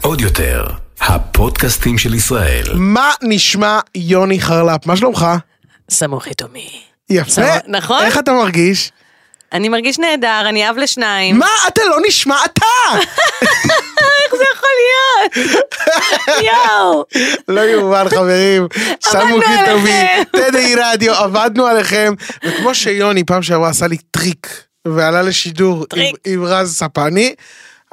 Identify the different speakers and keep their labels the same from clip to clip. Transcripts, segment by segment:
Speaker 1: עוד יותר, הפודקאסטים של ישראל.
Speaker 2: מה נשמע יוני חרלפ? מה שלומך?
Speaker 3: סמוך יתומי.
Speaker 2: יפה.
Speaker 3: סבבה, נכון?
Speaker 2: איך אתה מרגיש?
Speaker 3: אני מרגיש נהדר, אני אב לשניים.
Speaker 2: מה אתה לא נשמע אתה?
Speaker 3: איך זה יכול להיות? יואו.
Speaker 2: לא יאומן חברים, שמו קיטובי,
Speaker 3: לא עליכם.
Speaker 2: תדעי רדיו, עבדנו עליכם. וכמו שיוני פעם שעברה עשה לי טריק, ועלה לשידור עם-
Speaker 3: טריק.
Speaker 2: עם רז ספני,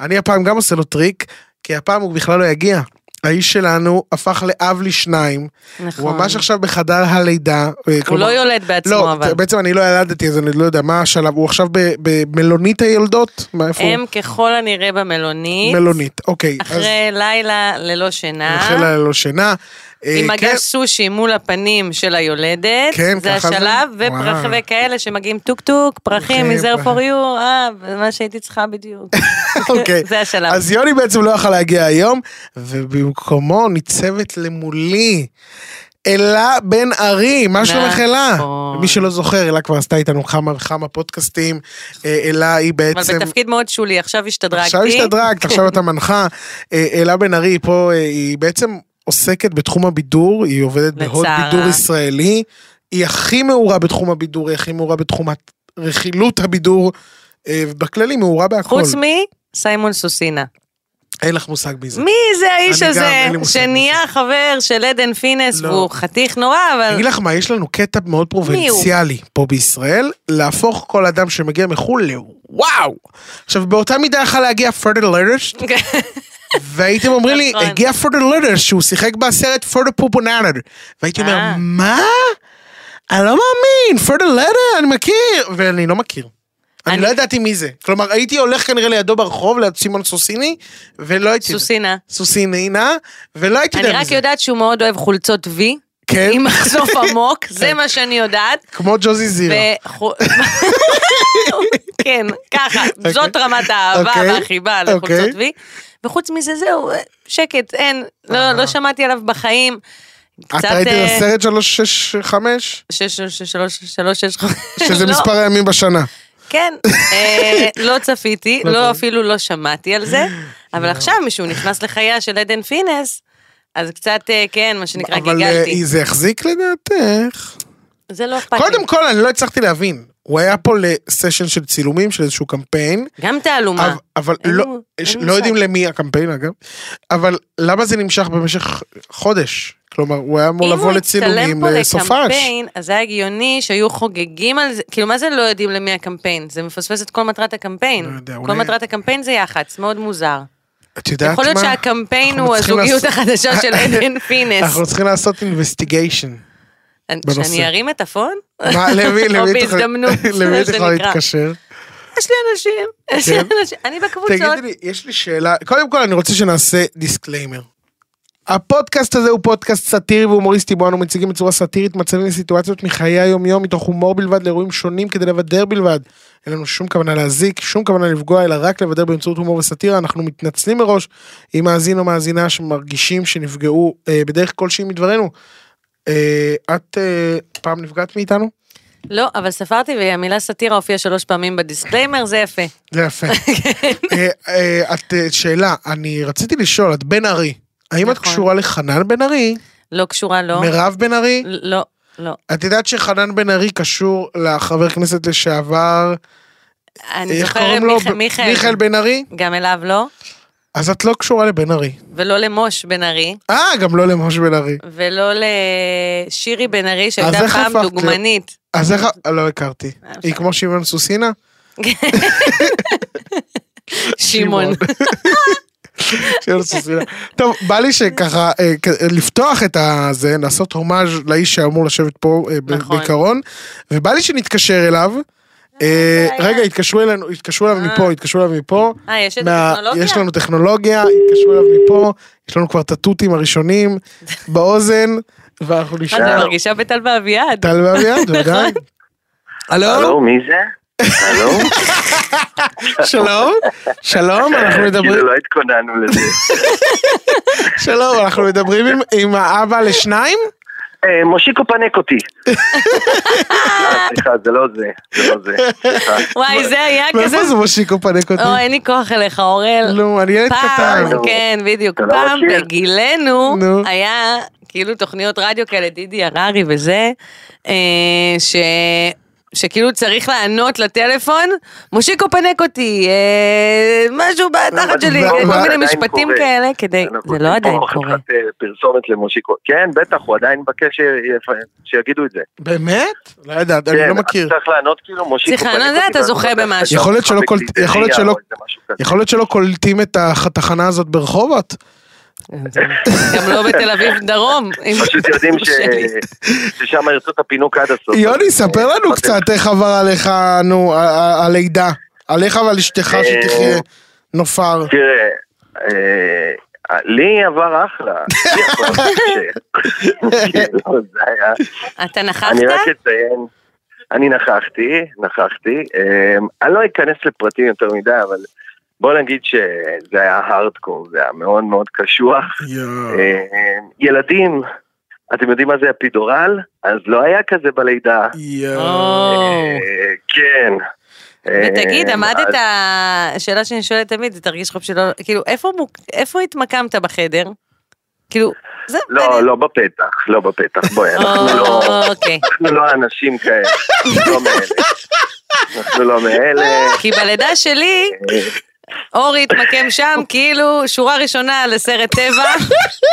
Speaker 2: אני הפעם גם עושה לו טריק, כי הפעם הוא בכלל לא יגיע. האיש שלנו הפך לאב לשניים, הוא
Speaker 3: נכון.
Speaker 2: ממש עכשיו בחדר הלידה. אה,
Speaker 3: הוא
Speaker 2: כלומר-
Speaker 3: לא יולד בעצמו
Speaker 2: לא,
Speaker 3: אבל.
Speaker 2: בעצם אני לא ילדתי אז אני לא יודע מה השלב, הוא עכשיו ב- במלונית היולדות? מה, איפה הוא?
Speaker 3: הם ככל הנראה במלונית,
Speaker 2: מלונית, אוקיי. אז
Speaker 3: אחרי לילה ללא שינה,
Speaker 2: אחרי לילה ללא שינה. אה,
Speaker 3: עם
Speaker 2: כן.
Speaker 3: מגש סושי מול הפנים של היולדת,
Speaker 2: כן,
Speaker 3: זה
Speaker 2: ככה זה?
Speaker 3: השלב,
Speaker 2: וואו.
Speaker 3: ופרחי כאלה שמגיעים טוק טוק, פרחים,
Speaker 2: אוקיי,
Speaker 3: מזר
Speaker 2: פרח.
Speaker 3: פור יו, אה, מה שהייתי צריכה בדיוק.
Speaker 2: אוקיי.
Speaker 3: זה השלב.
Speaker 2: אז יוני בעצם לא יכל להגיע היום, ובמקומו ניצבת למולי אלה בן ארי, מה שלומך אלה?
Speaker 3: נכון.
Speaker 2: מי שלא זוכר, אלה כבר עשתה איתנו כמה וכמה פודקאסטים. אה, אלה היא
Speaker 3: אבל
Speaker 2: בעצם...
Speaker 3: בתפקיד מאוד שולי, עכשיו השתדרגתי.
Speaker 2: עכשיו השתדרגת, עכשיו אתה מנחה. אה, אלה בן ארי פה, אה, היא בעצם עוסקת בתחום הבידור, היא עובדת בהוד
Speaker 3: לצערה.
Speaker 2: בידור ישראלי. היא הכי מעורה בתחום הבידור, היא הכי מעורה בתחום רכילות הבידור, אה, ובכללי מעורה בהכל.
Speaker 3: חוץ מסיימון סוסינה.
Speaker 2: אין לך מושג מי זה.
Speaker 3: מי זה האיש
Speaker 2: אני גם,
Speaker 3: הזה
Speaker 2: אין לי מושג
Speaker 3: שנהיה חבר של עדן פינס
Speaker 2: לא.
Speaker 3: והוא חתיך נורא,
Speaker 2: אני
Speaker 3: אבל
Speaker 2: אגיד לך מה, יש לנו קטע מאוד פרובינציאלי פה בישראל, להפוך כל אדם שמגיע מחו"ל לוואו. עכשיו, באותה מידה יכל להגיע פרדר לרש, והייתם אומרים לי,
Speaker 3: כן. נכון.
Speaker 2: הגיע פרדר לרש, שהוא שיחק בסרט פרדר פופונאנר. והייתי אומר,
Speaker 3: אה.
Speaker 2: מה? אני לא מאמין, פרדר לרש, אני מכיר. ואני לא מכיר. אני
Speaker 3: אני-
Speaker 2: לא ידעתי מי זה. כלומר, הייתי הולך כנראה לידו ברחוב, ליד סימון סוסיני, ולא הייתי...
Speaker 3: סוסינה.
Speaker 2: סוסינינה, ולא הייתי
Speaker 3: אני
Speaker 2: יודע מי
Speaker 3: רק
Speaker 2: זה.
Speaker 3: יודעת שהוא מאוד אוהב חולצות V,
Speaker 2: כן,
Speaker 3: עם מחשוף עמוק, זה מה שאני יודעת.
Speaker 2: כמו ג'וזי זירה.
Speaker 3: וחו- כן, ככה, זאת רמת האהבה
Speaker 2: אוקיי.
Speaker 3: והחיבה
Speaker 2: אוקיי.
Speaker 3: לחולצות V. וחוץ מזה, זהו, שקט, אין, לא לא שמעתי עליו בחיים.
Speaker 2: את
Speaker 3: קצת,
Speaker 2: ראית את
Speaker 3: אה,
Speaker 2: הסרט 365?
Speaker 3: שש, שש, שלוש, שלוש, שש, חמש.
Speaker 2: שזה
Speaker 3: לא,
Speaker 2: מספר הימים בשנה.
Speaker 3: כן, אה, לא צפיתי,
Speaker 2: לא
Speaker 3: לא
Speaker 2: צפית.
Speaker 3: אפילו לא שמעתי על זה, אבל עכשיו משהוא נכנס לחייה של עדן פינס, אז קצת, אה, כן, מה שנקרא,
Speaker 2: אבל אה,
Speaker 3: גיגלתי.
Speaker 2: זה החזיק לדעתך.
Speaker 3: זה לא אכפת לי.
Speaker 2: קודם כל, אני לא הצלחתי להבין. הוא היה פה לסשן של צילומים של איזשהו קמפיין,
Speaker 3: גם תעלומה.
Speaker 2: אבל- אבל
Speaker 3: אין
Speaker 2: לא-
Speaker 3: לו-
Speaker 2: ש-
Speaker 3: אין
Speaker 2: לא
Speaker 3: מושג.
Speaker 2: יודעים למי הקמפיין אגב, אבל למה זה נמשך במשך חודש? כלומר, הוא היה אמור
Speaker 3: אם
Speaker 2: לבוא
Speaker 3: הוא
Speaker 2: לצילומים, אה,
Speaker 3: הצטלם פה
Speaker 2: לסופש.
Speaker 3: לקמפיין, אז היה הגיוני שהיו חוגגים על זה, כאילו מה זה לא יודעים למי הקמפיין? זה מפספס את כל מטרת הקמפיין.
Speaker 2: לא יודע,
Speaker 3: כל
Speaker 2: אולי-
Speaker 3: מטרת הקמפיין זה יח"צ, מאוד מוזר.
Speaker 2: את יודעת מה?
Speaker 3: יכול להיות שהקמפיין
Speaker 2: אנחנו
Speaker 3: הוא
Speaker 2: צריכים
Speaker 3: הזוגיות
Speaker 2: לעשות-
Speaker 3: החדשה של עדן פינס.
Speaker 2: אנחנו צריכים לעשות אינבסטיגיישן.
Speaker 3: אני-
Speaker 2: בנושא.
Speaker 3: שאני ארים את הפון?
Speaker 2: מה, למי,
Speaker 3: או
Speaker 2: למי את יכולה-
Speaker 3: בהזדמנות,
Speaker 2: למי את
Speaker 3: מה
Speaker 2: יכולה
Speaker 3: שנקרא.
Speaker 2: להתקשר?
Speaker 3: יש לי אנשים, יש לי
Speaker 2: כן?
Speaker 3: אנשים, אני בקבוצות.
Speaker 2: תגידי לי, יש לי שאלה, קודם כל אני רוצה שנעשה דיסקליימר. הפודקאסט הזה הוא פודקאסט סאטירי והומוריסטי בו אנו מציגים בצורה סאטירית מצבים וסיטואציות מחיי היום-יום מתוך הומור בלבד לאירועים שונים כדי לבדר בלבד. אין לנו שום כוונה להזיק, שום כוונה לפגוע, אלא רק לבדר באמצעות הומור וסאטירה. אנחנו מתנצלים מראש עם מאזין או מאזינה שמרגישים שנפגעו אה, בדרך כלשהי מדברנו. אה, את אה, פעם נפגעת מאיתנו?
Speaker 3: לא, אבל ספרתי והמילה סאטירה הופיעה שלוש פעמים בדיסקליימר, זה יפה.
Speaker 2: זה יפה. אה, אה, את, אה, שאלה, אני רציתי לשאול, את בן ארי, האם את
Speaker 3: נכון.
Speaker 2: קשורה לחנן בן ארי?
Speaker 3: לא קשורה, לא.
Speaker 2: מירב בן ארי?
Speaker 3: לא, לא.
Speaker 2: את יודעת שחנן בן ארי קשור לחבר כנסת לשעבר,
Speaker 3: אני
Speaker 2: איך
Speaker 3: זוכרת
Speaker 2: קוראים לו?
Speaker 3: מיכ- מיכאל.
Speaker 2: מיכאל בן ארי?
Speaker 3: גם אליו לא,
Speaker 2: אז את לא קשורה לבן ארי.
Speaker 3: ולא למוש בן ארי,
Speaker 2: אה, גם לא למשה בן ארי.
Speaker 3: ולא לשירי בן ארי, שהייתה
Speaker 2: אז איך
Speaker 3: פעם
Speaker 2: הפכת להיות-
Speaker 3: דוגמנית.
Speaker 2: אז איך... אה, לא הכרתי. היא כמו שמעון סוסינה?
Speaker 3: שמעון.
Speaker 2: שמעון סוסינה. טוב, בא לי שככה, אה, כ- לפתוח את הזה, לעשות הומאז' לאיש שאמור לשבת פה אה, ב-
Speaker 3: נכון.
Speaker 2: בעיקרון, ובא לי שנתקשר אליו. אה, רגע, התקשרו אלינו, התקשרו אליו מפה, התקשרו אליו מפה.
Speaker 3: אה, יש את
Speaker 2: מה-
Speaker 3: הטכנולוגיה?
Speaker 2: יש לנו טכנולוגיה, התקשרו אליו מפה, יש לנו כבר את התותים הראשונים באוזן, ואנחנו
Speaker 3: אני
Speaker 2: נשאר.
Speaker 3: מרגישה בטל באביעד.
Speaker 2: טל ואביעד, בוודאי. הלו,
Speaker 4: הלו, מי זה? הלו?
Speaker 2: שלום, שלום, אנחנו מדברים,
Speaker 4: כאילו לא התכוננו לזה.
Speaker 2: שלום, אנחנו מדברים עם- עם האבא לשניים?
Speaker 4: אה, מושיקו פנק אותי. אה, סליחה, זה לא זה, זה לא זה. סליחה. לא,
Speaker 3: וואי, זה היה כזה...
Speaker 2: מאיפה זה מושיקו פנק אותי?
Speaker 3: או, אין לי כוח אליך, אורל.
Speaker 2: נו, אני ילד קטן.
Speaker 3: פעם, כן, בדיוק.
Speaker 4: אתה לא
Speaker 3: פעם
Speaker 4: מכיר?
Speaker 3: בגילנו
Speaker 2: נו.
Speaker 3: היה כאילו תוכניות רדיו כאלה, דידי הררי וזה, אה, ש... שכאילו צריך לענות לטלפון, מושיקו פנק אותי, אה, משהו בתחת
Speaker 4: לא,
Speaker 3: שלי,
Speaker 2: זה
Speaker 3: כל
Speaker 2: עדיין
Speaker 3: מיני משפטים
Speaker 4: קורה.
Speaker 3: כאלה, כדי,
Speaker 4: אנחנו
Speaker 3: זה לא
Speaker 4: עושים פה
Speaker 3: עדיין קורה.
Speaker 4: חתיכת, אה, פרסומת למושיקו. כן, בטח, הוא עדיין מבקש ש- שיגידו את זה.
Speaker 2: באמת? לא יודעת, אני
Speaker 4: כן,
Speaker 2: לא
Speaker 4: אתה
Speaker 2: מכיר.
Speaker 4: צריך לענות כאילו מושיקו.
Speaker 3: סליחה,
Speaker 4: פנק
Speaker 3: אני
Speaker 4: אותי,
Speaker 3: יודעת, אתה
Speaker 4: ואז
Speaker 3: זוכה
Speaker 4: אתה
Speaker 3: במשהו.
Speaker 2: יכול להיות שלא
Speaker 4: מתחבק
Speaker 2: כל-
Speaker 4: לי,
Speaker 2: יכול להיות
Speaker 4: זה
Speaker 2: שלא-
Speaker 4: או איזה משהו כזה.
Speaker 2: יכול להיות שלא קולטים את התחנה הזאת ברחובות?
Speaker 3: גם לא בתל אביב דרום. אם-
Speaker 4: פשוט יודעים ש-
Speaker 3: שלי.
Speaker 4: ששם ירצו את הפינוק עד הסוף.
Speaker 2: יוני,
Speaker 4: אז,
Speaker 2: ספר
Speaker 4: אה,
Speaker 2: לנו קצת איך עבר עליך, נו, ה- ה- הלידה. עליך ועל
Speaker 4: אה,
Speaker 2: אשתך שתחיה נופר.
Speaker 4: תראה, אה, לי עבר אחלה. לי עבר קשה. כאילו, זה היה...
Speaker 3: אתה
Speaker 4: אני רק
Speaker 3: נכחת?
Speaker 4: אציין, אני נכחתי, נכחתי. אמ, אני לא אכנס לפרטים יותר מדי, אבל בוא נגיד שזה היה הארדקור, זה היה מאוד מאוד קשוח. אמ, ילדים, אתם יודעים מה זה אפידורל? אז לא היה כזה בלידה.
Speaker 3: או.
Speaker 4: אה, כן.
Speaker 3: ותגיד,
Speaker 4: אמ,
Speaker 3: עמדת,
Speaker 4: אז-
Speaker 3: השאלה שאני שואלת תמיד, זה תרגיש חופשי, לא, כאילו, איפה מוק- איפה התמקמת בחדר? כאילו, זה...
Speaker 4: לא,
Speaker 3: מעניין.
Speaker 4: לא בפתח, לא בפתח, בואי, אנחנו לא...
Speaker 3: או, אוקיי.
Speaker 4: אנחנו לא אנשים כאלה, אנחנו לא מאלה. אנחנו לא מאלה.
Speaker 3: כי בלידה שלי, אורי התמקם שם, כאילו, שורה ראשונה לסרט טבע,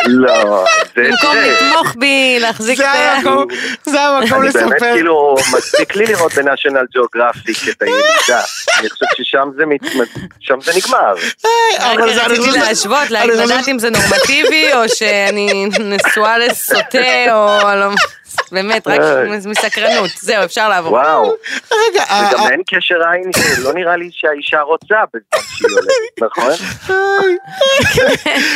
Speaker 4: לא, זה...
Speaker 3: במקום
Speaker 4: זה.
Speaker 3: לתמוך בי, להחזיק את
Speaker 2: זה
Speaker 3: ה...
Speaker 2: המקום- זה המקום
Speaker 4: אני באמת
Speaker 2: לספר.
Speaker 4: כאילו, מספיק לי לראות בנאשונל ג'אוגרפיק את הילודה. אני חושב ששם זה מתמד- שם זה נגמר.
Speaker 2: אה,
Speaker 3: רק
Speaker 2: אבל זה- אני
Speaker 3: רציתי
Speaker 2: חושב-
Speaker 3: להשוות,
Speaker 2: אני לא- חושב-
Speaker 3: לדעת אם זה נורמטיבי, או שאני נשואה לסוטה, או לא... באמת, רק
Speaker 4: אה.
Speaker 3: מסקרנות. זהו, אפשר לעבור.
Speaker 4: וואו,
Speaker 2: רגע, אה,
Speaker 4: וגם
Speaker 2: אה,
Speaker 4: אין קשר עין, לא נראה לי שהאישה רוצה בזמן שהיא הולדת, נכון?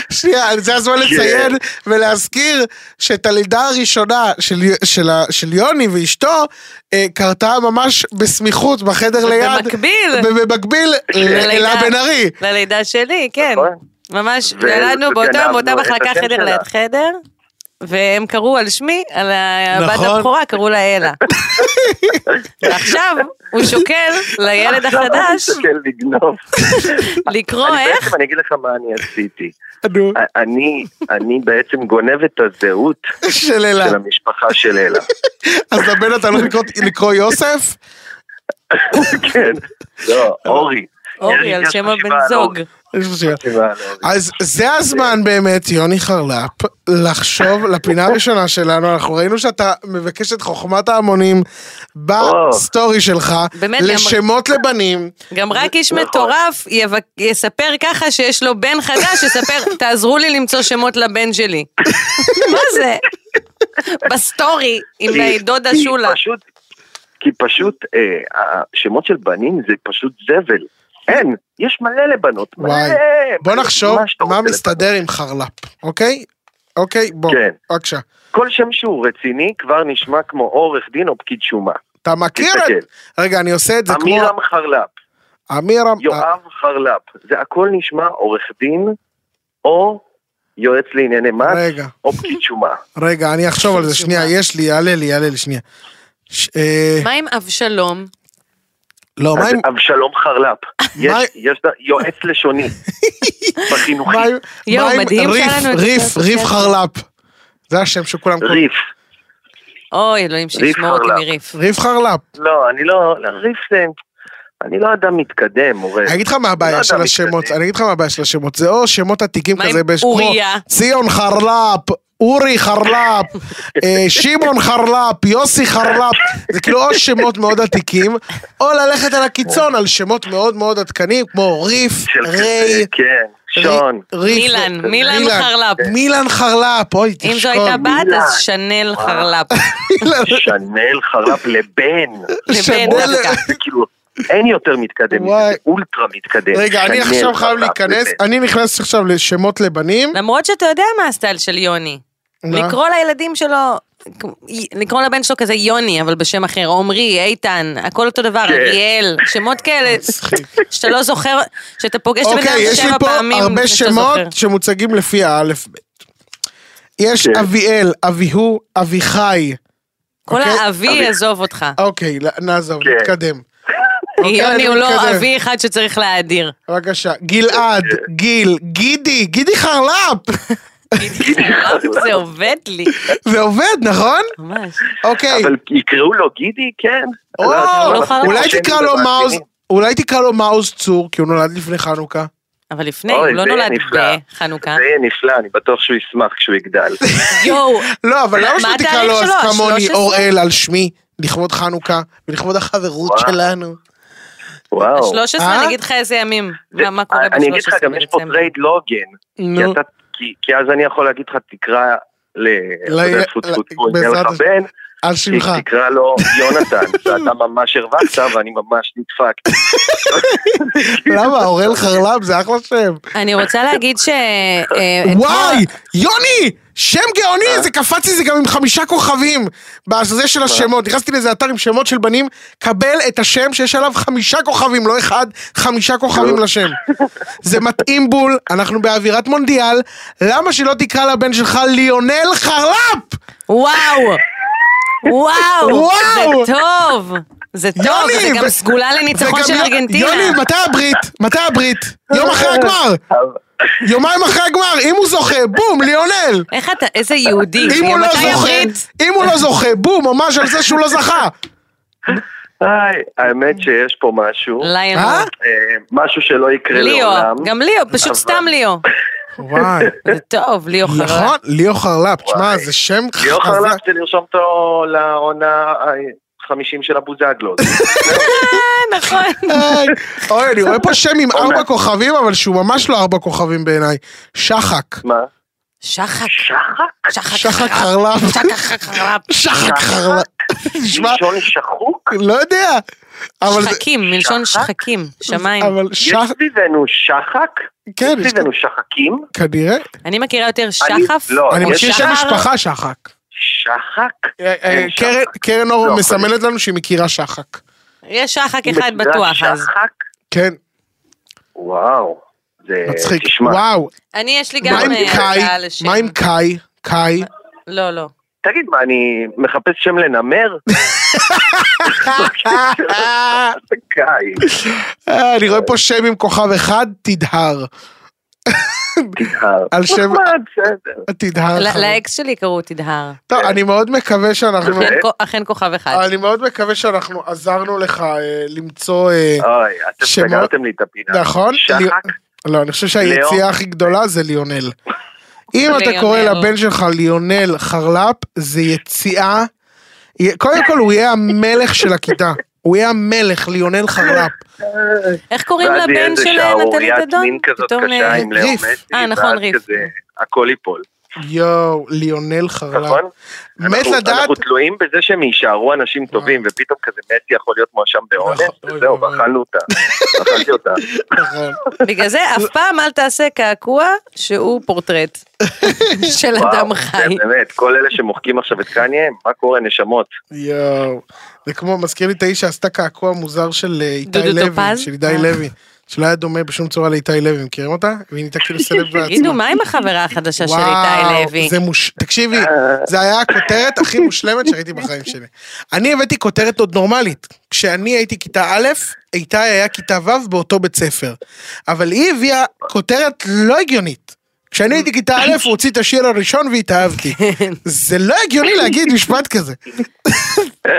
Speaker 2: שנייה, זה הזמן לציין ולהזכיר שאת הלידה הראשונה של י- של ה- של יוני ואשתו אה, קרתה ממש בסמיכות בחדר ליד.
Speaker 3: במקביל.
Speaker 2: במקביל
Speaker 3: ללידה.
Speaker 2: לאלה בן ארי.
Speaker 3: ללידה שלי, כן.
Speaker 4: נכון.
Speaker 3: ממש
Speaker 4: ו-
Speaker 3: ילדנו באותו יום,
Speaker 4: וגנבנו
Speaker 3: באותה
Speaker 4: את
Speaker 3: מחלקה
Speaker 4: השם
Speaker 3: חדר
Speaker 4: שלה.
Speaker 3: ליד חדר, והם קראו על שמי, על הבת
Speaker 2: נכון.
Speaker 3: הבכורה, קראו לה אלה. ועכשיו הוא שוקל לילד
Speaker 4: עכשיו אני
Speaker 3: החדש
Speaker 4: מסתכל לגנוב.
Speaker 3: לקרוא
Speaker 4: אני
Speaker 3: איך...
Speaker 4: בעצם, אני אגיד לך מה אני עשיתי.
Speaker 2: נו,
Speaker 4: אני, אני בעצם גונב את הזהות
Speaker 3: כן.
Speaker 2: של אלה.
Speaker 4: של המשפחה של אלה.
Speaker 2: אז לבן אתה לא לקרוא- לקרוא יוסף?
Speaker 4: כן, לא, אורי.
Speaker 3: אורי, על שם הבן זוג.
Speaker 2: יש לי שאלה.
Speaker 4: חשיבה על אורי.
Speaker 2: אז זה הזמן באמת, יוני חרלפ, לחשוב לפינה הראשונה שלנו, אנחנו ראינו שאתה מבקש את חוכמת ההמונים בסטורי שלך,
Speaker 3: באמת, גם-
Speaker 2: לשמות לבנים.
Speaker 3: גם רק איש
Speaker 4: נכון.
Speaker 3: מטורף יבק- יספר ככה שיש לו בן חדש, יספר, תעזרו לי למצוא שמות לבן שלי. מה זה? בסטורי, עם
Speaker 4: כי-
Speaker 3: דודה
Speaker 4: כי
Speaker 3: שולה.
Speaker 4: פשוט- כי פשוט אה, השמות של בנים זה פשוט זבל. אין, יש מלא לבנות. מלא,
Speaker 2: וואי. בוא
Speaker 4: מלא,
Speaker 2: נחשוב
Speaker 4: שאתה
Speaker 2: מה
Speaker 4: לא רוצה
Speaker 2: מסתדר עם חרלפ, אוקיי? אוקיי, בוא,
Speaker 4: כן.
Speaker 2: בבקשה.
Speaker 4: לבנות. כל שם שהוא רציני כבר נשמע כמו עורך דין או פקיד שומה.
Speaker 2: אתה מכיר את...
Speaker 4: תסתכל.
Speaker 2: רגע, אני עושה את כן, זה כמו... אה.
Speaker 4: אמירם חרל"פ,
Speaker 2: אמירם...
Speaker 4: יואב חרל"פ, זה הכל נשמע עורך דין או יועץ לענייני מס
Speaker 2: רגע.
Speaker 4: או פקיד שומה.
Speaker 2: רגע, אני אחשוב על זה, שנייה, יש לי, יעלה לי, יעלה לי, שנייה. ש- אה,
Speaker 3: מה עם אבשלום?
Speaker 2: לא, מה
Speaker 4: אז
Speaker 2: עם...
Speaker 4: אבשלום חרל"פ, יש-
Speaker 2: מה-
Speaker 4: יש יועץ לשוני בחינוכי,
Speaker 2: מה עם-
Speaker 3: יואו,
Speaker 2: מה עם
Speaker 3: מדהים
Speaker 2: ריף,
Speaker 3: שהיה לנו את
Speaker 2: ריף,
Speaker 3: השאלות
Speaker 2: ריף
Speaker 3: הסוציאליות.
Speaker 2: חרל"פ. זה השם שכולם קוראים.
Speaker 4: ריף.
Speaker 3: אוי, אלוהים שישמור אותי
Speaker 4: חרל"פ.
Speaker 3: מריף.
Speaker 2: ריף חרל"פ.
Speaker 4: לא, אני לא, ריף זה, אני לא אדם מתקדם, אורן.
Speaker 2: אני אגיד לך מה
Speaker 4: לא
Speaker 2: הבעיה של
Speaker 4: אדם
Speaker 2: השמות,
Speaker 4: מתקדם.
Speaker 2: אני אגיד לך מה הבעיה של השמות, זה או שמות עתיקים
Speaker 3: מה עם
Speaker 2: כזה, בש- כמו
Speaker 3: אוריה?
Speaker 2: ציון חרל"פ, אורי חרל"פ, אה, שמעון חרל"פ, יוסי חרל"פ, זה כאילו או שמות מאוד עתיקים, או ללכת על הקיצון, על שמות מאוד מאוד עדכניים, כמו ריף,
Speaker 4: של
Speaker 2: ריי,
Speaker 4: כזה, כן, שון.
Speaker 2: ריף,
Speaker 3: מילן, מילן חרל"פ.
Speaker 2: מילן חרל"פ, אוי, תשכון.
Speaker 3: אם זו הייתה בת,
Speaker 4: מילה.
Speaker 3: אז שנל
Speaker 2: אה.
Speaker 3: חרל"פ.
Speaker 2: מילן-
Speaker 4: שנאל חרל"פ לבן.
Speaker 2: שנאל-
Speaker 4: בואנה, זה כאילו, אין יותר מתקדם,
Speaker 2: וואי.
Speaker 4: זה אולטרה מתקדם.
Speaker 2: רגע, אני
Speaker 4: שנאל
Speaker 2: עכשיו חייב
Speaker 4: חרל"פ
Speaker 2: להיכנס,
Speaker 4: לבן.
Speaker 2: אני נכנס עכשיו לשמות לבנים.
Speaker 3: למרות שאתה יודע מה הסטייל של יוני.
Speaker 2: מה?
Speaker 3: לקרוא לילדים שלו, לקרוא לבן שלו כזה יוני, אבל בשם אחר, עמרי, איתן, הכל אותו דבר,
Speaker 4: כן.
Speaker 3: אריאל, שמות כאלה, שאתה לא זוכר, שאתה פוגש את הבן
Speaker 2: אוקיי,
Speaker 3: אדם
Speaker 2: יש לי
Speaker 3: שבע
Speaker 2: פה
Speaker 3: פעמים,
Speaker 2: הרבה
Speaker 3: שאתה
Speaker 2: שמות
Speaker 3: זוכר.
Speaker 2: שמוצגים לפי האלף בית. יש
Speaker 4: כן.
Speaker 2: אביאל, אביהו, אביחי.
Speaker 3: כל
Speaker 2: אוקיי?
Speaker 3: האבי
Speaker 4: אבי.
Speaker 3: יעזוב אותך.
Speaker 2: אוקיי, נעזוב,
Speaker 4: כן.
Speaker 2: נתקדם. אוקיי,
Speaker 3: יוני הוא לא
Speaker 2: נתקדם.
Speaker 3: אבי אחד שצריך להאדיר.
Speaker 2: בבקשה, גלעד,
Speaker 4: אוקיי.
Speaker 2: גיל, גידי, גידי חרלפ.
Speaker 3: זה עובד לי.
Speaker 2: זה עובד, נכון?
Speaker 3: ממש.
Speaker 2: אוקיי.
Speaker 4: אבל יקראו לו גידי, כן.
Speaker 2: או,
Speaker 4: לא,
Speaker 3: הוא
Speaker 4: לא
Speaker 3: לא חרל"פ.
Speaker 4: מצליח
Speaker 2: אולי
Speaker 4: שני
Speaker 2: תקרא לו
Speaker 4: דבר
Speaker 2: מעוז,
Speaker 4: שני.
Speaker 2: אולי תקרא לו מעוז צור, כי הוא נולד לפני חנוכה.
Speaker 3: אבל לפני, הוא
Speaker 4: אוי,
Speaker 3: לא
Speaker 4: זה
Speaker 3: נולד
Speaker 4: נפלא.
Speaker 3: בחנוכה.
Speaker 4: זה יהיה נפלא, אני בטוח שהוא ישמח כשהוא יגדל.
Speaker 3: יואו,
Speaker 2: לא, אבל למה
Speaker 3: מה
Speaker 2: שלא תקרא
Speaker 3: התאריך
Speaker 2: לו אז
Speaker 3: שלו?
Speaker 2: כמוני
Speaker 3: 13?
Speaker 2: אוראל על שמי, לכבוד חנוכה ולכבוד החברות
Speaker 4: וואו.
Speaker 2: שלנו?
Speaker 4: וואו.
Speaker 3: ה-13,
Speaker 2: אה?
Speaker 3: אני אגיד לך איזה ימים. מה מה קורה ב-13
Speaker 4: אני אגיד לך, גם יש פה
Speaker 3: בדצמבר.
Speaker 4: טרייד לא הוגן. כי
Speaker 2: נו,
Speaker 4: אתה- כי- כי אז אני יכול להגיד לך, תקרא ל... אתה
Speaker 2: ל-
Speaker 4: יודע,
Speaker 2: ל-
Speaker 4: טפו,
Speaker 2: ל-
Speaker 4: טפו, טפו, אם
Speaker 2: בעזרת
Speaker 4: יהיה לך
Speaker 2: השם.
Speaker 4: בן,
Speaker 2: על שמך.
Speaker 4: תקרא לו יונתן, ואתה ממש הרווחת ואני ממש נדפקתי.
Speaker 2: למה, אוראל חרלפ זה אחלה שם.
Speaker 3: אני רוצה להגיד ש... אה, אתמול-
Speaker 2: וואי, יוני! שם גאוני! זה קפץ לי זה גם עם חמישה כוכבים. בזה של השמות. נכנסתי לאיזה אתר עם שמות של בנים, קבל את השם שיש עליו חמישה כוכבים, לא אחד, חמישה כוכבים לשם. זה מתאים בול, אנחנו באווירת מונדיאל, למה שלא תקרא לבן שלך ליונל חרלפ?
Speaker 3: וואו! וואו!
Speaker 2: וואו!
Speaker 3: זה טוב! זה טוב,
Speaker 2: יוני,
Speaker 3: לא, זה
Speaker 2: ו-
Speaker 3: גם סגולה לניצחון
Speaker 2: וגם
Speaker 3: של
Speaker 2: יו-
Speaker 3: ארגנטינה.
Speaker 2: יוני, מתי הברית? מתי הברית? יום אחרי הגמר! יומיים אחרי הגמר, אם הוא זוכה, בום, ליונל!
Speaker 3: איך אתה, איזה יהודי.
Speaker 2: אם הוא לא
Speaker 3: מתי הברית?
Speaker 2: זוכה, אם הוא לא זוכה, בום, ממש על זה שהוא לא זכה.
Speaker 4: היי, האמת שיש פה משהו,
Speaker 3: ליון.
Speaker 2: אה?
Speaker 4: אה, משהו שלא יקרה
Speaker 3: ליאו,
Speaker 4: לעולם.
Speaker 3: גם ליאו, פשוט
Speaker 4: אבל-
Speaker 3: סתם ליאו.
Speaker 2: וואי,
Speaker 3: זה טוב, ליאו חרל"פ.
Speaker 2: נכון, ליאו חרלפ, תשמע,
Speaker 4: וואי.
Speaker 2: זה שם
Speaker 4: ליאור
Speaker 2: חזק.
Speaker 4: חרל"פ זה לרשום אותו לעונה ה-50 של הבוזגלו.
Speaker 3: אה, נכון.
Speaker 2: היי. אוי, אני רואה פה שם עם ארבע
Speaker 4: אוקיי.
Speaker 2: כוכבים, אבל שהוא ממש לא ארבע כוכבים בעיניי. שחק.
Speaker 4: מה?
Speaker 3: שחק,
Speaker 4: שחק?
Speaker 3: שחק
Speaker 2: שחק
Speaker 3: חרל"פ.
Speaker 2: חרלפ.
Speaker 3: שחק חרל"פ.
Speaker 2: שחק חרלפ. תשמע,
Speaker 4: לישון שחוק?
Speaker 2: לא יודע. אבל זה...
Speaker 3: שחקים, מלשון
Speaker 4: שחק?
Speaker 3: שחקים, שמיים.
Speaker 2: אבל
Speaker 4: יש
Speaker 2: שח...
Speaker 4: סביבנו שחק?
Speaker 2: כן,
Speaker 4: יש
Speaker 2: יש
Speaker 4: סביבנו שחקים?
Speaker 2: כנראה.
Speaker 3: אני מכירה יותר
Speaker 4: אני-
Speaker 3: שחף.
Speaker 4: לא,
Speaker 2: אני
Speaker 4: יש
Speaker 2: מכיר שם
Speaker 4: שחר?
Speaker 2: משפחה שחק.
Speaker 4: שחק?
Speaker 2: אה, אה,
Speaker 4: אין
Speaker 2: קרן-
Speaker 4: שחק.
Speaker 2: קרן
Speaker 4: לא,
Speaker 2: אור
Speaker 4: אבל-
Speaker 2: מסמלת לנו שהיא מכירה שחק.
Speaker 3: יש שחק אחד
Speaker 4: מכירה
Speaker 3: בטוח אז.
Speaker 4: שחק?
Speaker 2: כן,
Speaker 4: וואו. זה...
Speaker 2: מצחיק.
Speaker 4: אה, תשמע,
Speaker 2: וואו.
Speaker 3: אני, יש לי
Speaker 2: מה
Speaker 3: גם
Speaker 2: עם
Speaker 3: אה,
Speaker 2: קאי?
Speaker 3: הצעה לשם.
Speaker 2: מה עם קאי? קאי?
Speaker 3: לא, לא.
Speaker 4: תגיד, מה, אני מחפש שם לנמר? זה גיא,
Speaker 2: אה, אני רואה פה שם עם כוכב אחד, תדהר.
Speaker 4: תדהר.
Speaker 2: על שם-
Speaker 4: נחמד, בסדר.
Speaker 2: תדהר.
Speaker 3: ל-
Speaker 2: חרל"פ.
Speaker 3: לאקס שלי קראו תדהר.
Speaker 2: טוב, אני מאוד מקווה שאנחנו...
Speaker 4: באמת?
Speaker 3: אכן כ- אכן כוכב אחד.
Speaker 2: אני מאוד מקווה שאנחנו עזרנו לך אה, למצוא... אה,
Speaker 4: אוי, אתם
Speaker 2: שמות-
Speaker 4: סגרתם לי את הפינה.
Speaker 2: נכון? לי-
Speaker 4: שחק?
Speaker 2: לא, אני חושב שהיציאה
Speaker 4: ליאו.
Speaker 2: הכי גדולה זה ליונל. אם אתה
Speaker 3: ליונל.
Speaker 2: קורא לבן שלך ליונל חרלפ, זה יציאה... יה- קודם כל, הוא יהיה המלך של הכיתה. הוא יהיה המלך, ליונל חרלפ.
Speaker 3: איך קוראים
Speaker 4: ואז יהיה
Speaker 3: לבן
Speaker 4: איזה
Speaker 3: של
Speaker 4: שערוריית
Speaker 3: נטלי דדון?
Speaker 4: מין כזאת
Speaker 3: פתאום
Speaker 4: קשה
Speaker 3: ל-
Speaker 4: עם לאו
Speaker 2: ריף.
Speaker 4: מסי,
Speaker 3: אה, נכון,
Speaker 4: ואז
Speaker 3: ריף.
Speaker 4: כזה, הכל ייפול,
Speaker 2: יואו, ליונל חרלפ.
Speaker 4: נכון?
Speaker 2: מת
Speaker 4: אנחנו-
Speaker 2: לדעת... אה.
Speaker 4: אנחנו תלויים בזה שהם יישארו אנשים טובים, ופתאום כזה מסי יכול להיות מואשם באונס,
Speaker 2: נכון,
Speaker 4: וזהו,
Speaker 2: אוי, אוי.
Speaker 4: ואכלנו אותה. אכלתי אותה.
Speaker 2: נכון.
Speaker 3: בגלל זה אף פעם אל תעשה קעקוע שהוא פורטרט של אדם
Speaker 4: וואו,
Speaker 3: חי.
Speaker 4: כן, באמת, כל אלה שמוחקים עכשיו את קניה, מה קורה, נשמות?
Speaker 2: יואו, זה כמו, מזכיר לי את האיש שעשתה קעקוע מוזר של אה, איתי
Speaker 3: דודו
Speaker 2: לוי,
Speaker 3: טופז? אה.
Speaker 2: של איתי לוי, שלא היה דומה בשום צורה לאיתי לוי, מכירים אותה? והיא נהייתה כאילו סלב בעצמה.
Speaker 3: תגידו, מה עם החברה החדשה של איתי לוי?
Speaker 2: זה מוש... תקשיבי, זה היה הכותרת הכי מושלמת שראיתי בחיים שלי. אני הבאתי כותרת עוד נורמלית. כשאני הייתי כיתה א', איתי היה כיתה ו' באותו בית ספר. אבל היא הביאה כותרת לא הגיונית. כשאני הייתי כיתה א', הוא הוציא את השיר הראשון והתאהבתי. זה לא הגיוני להגיד משפט כזה.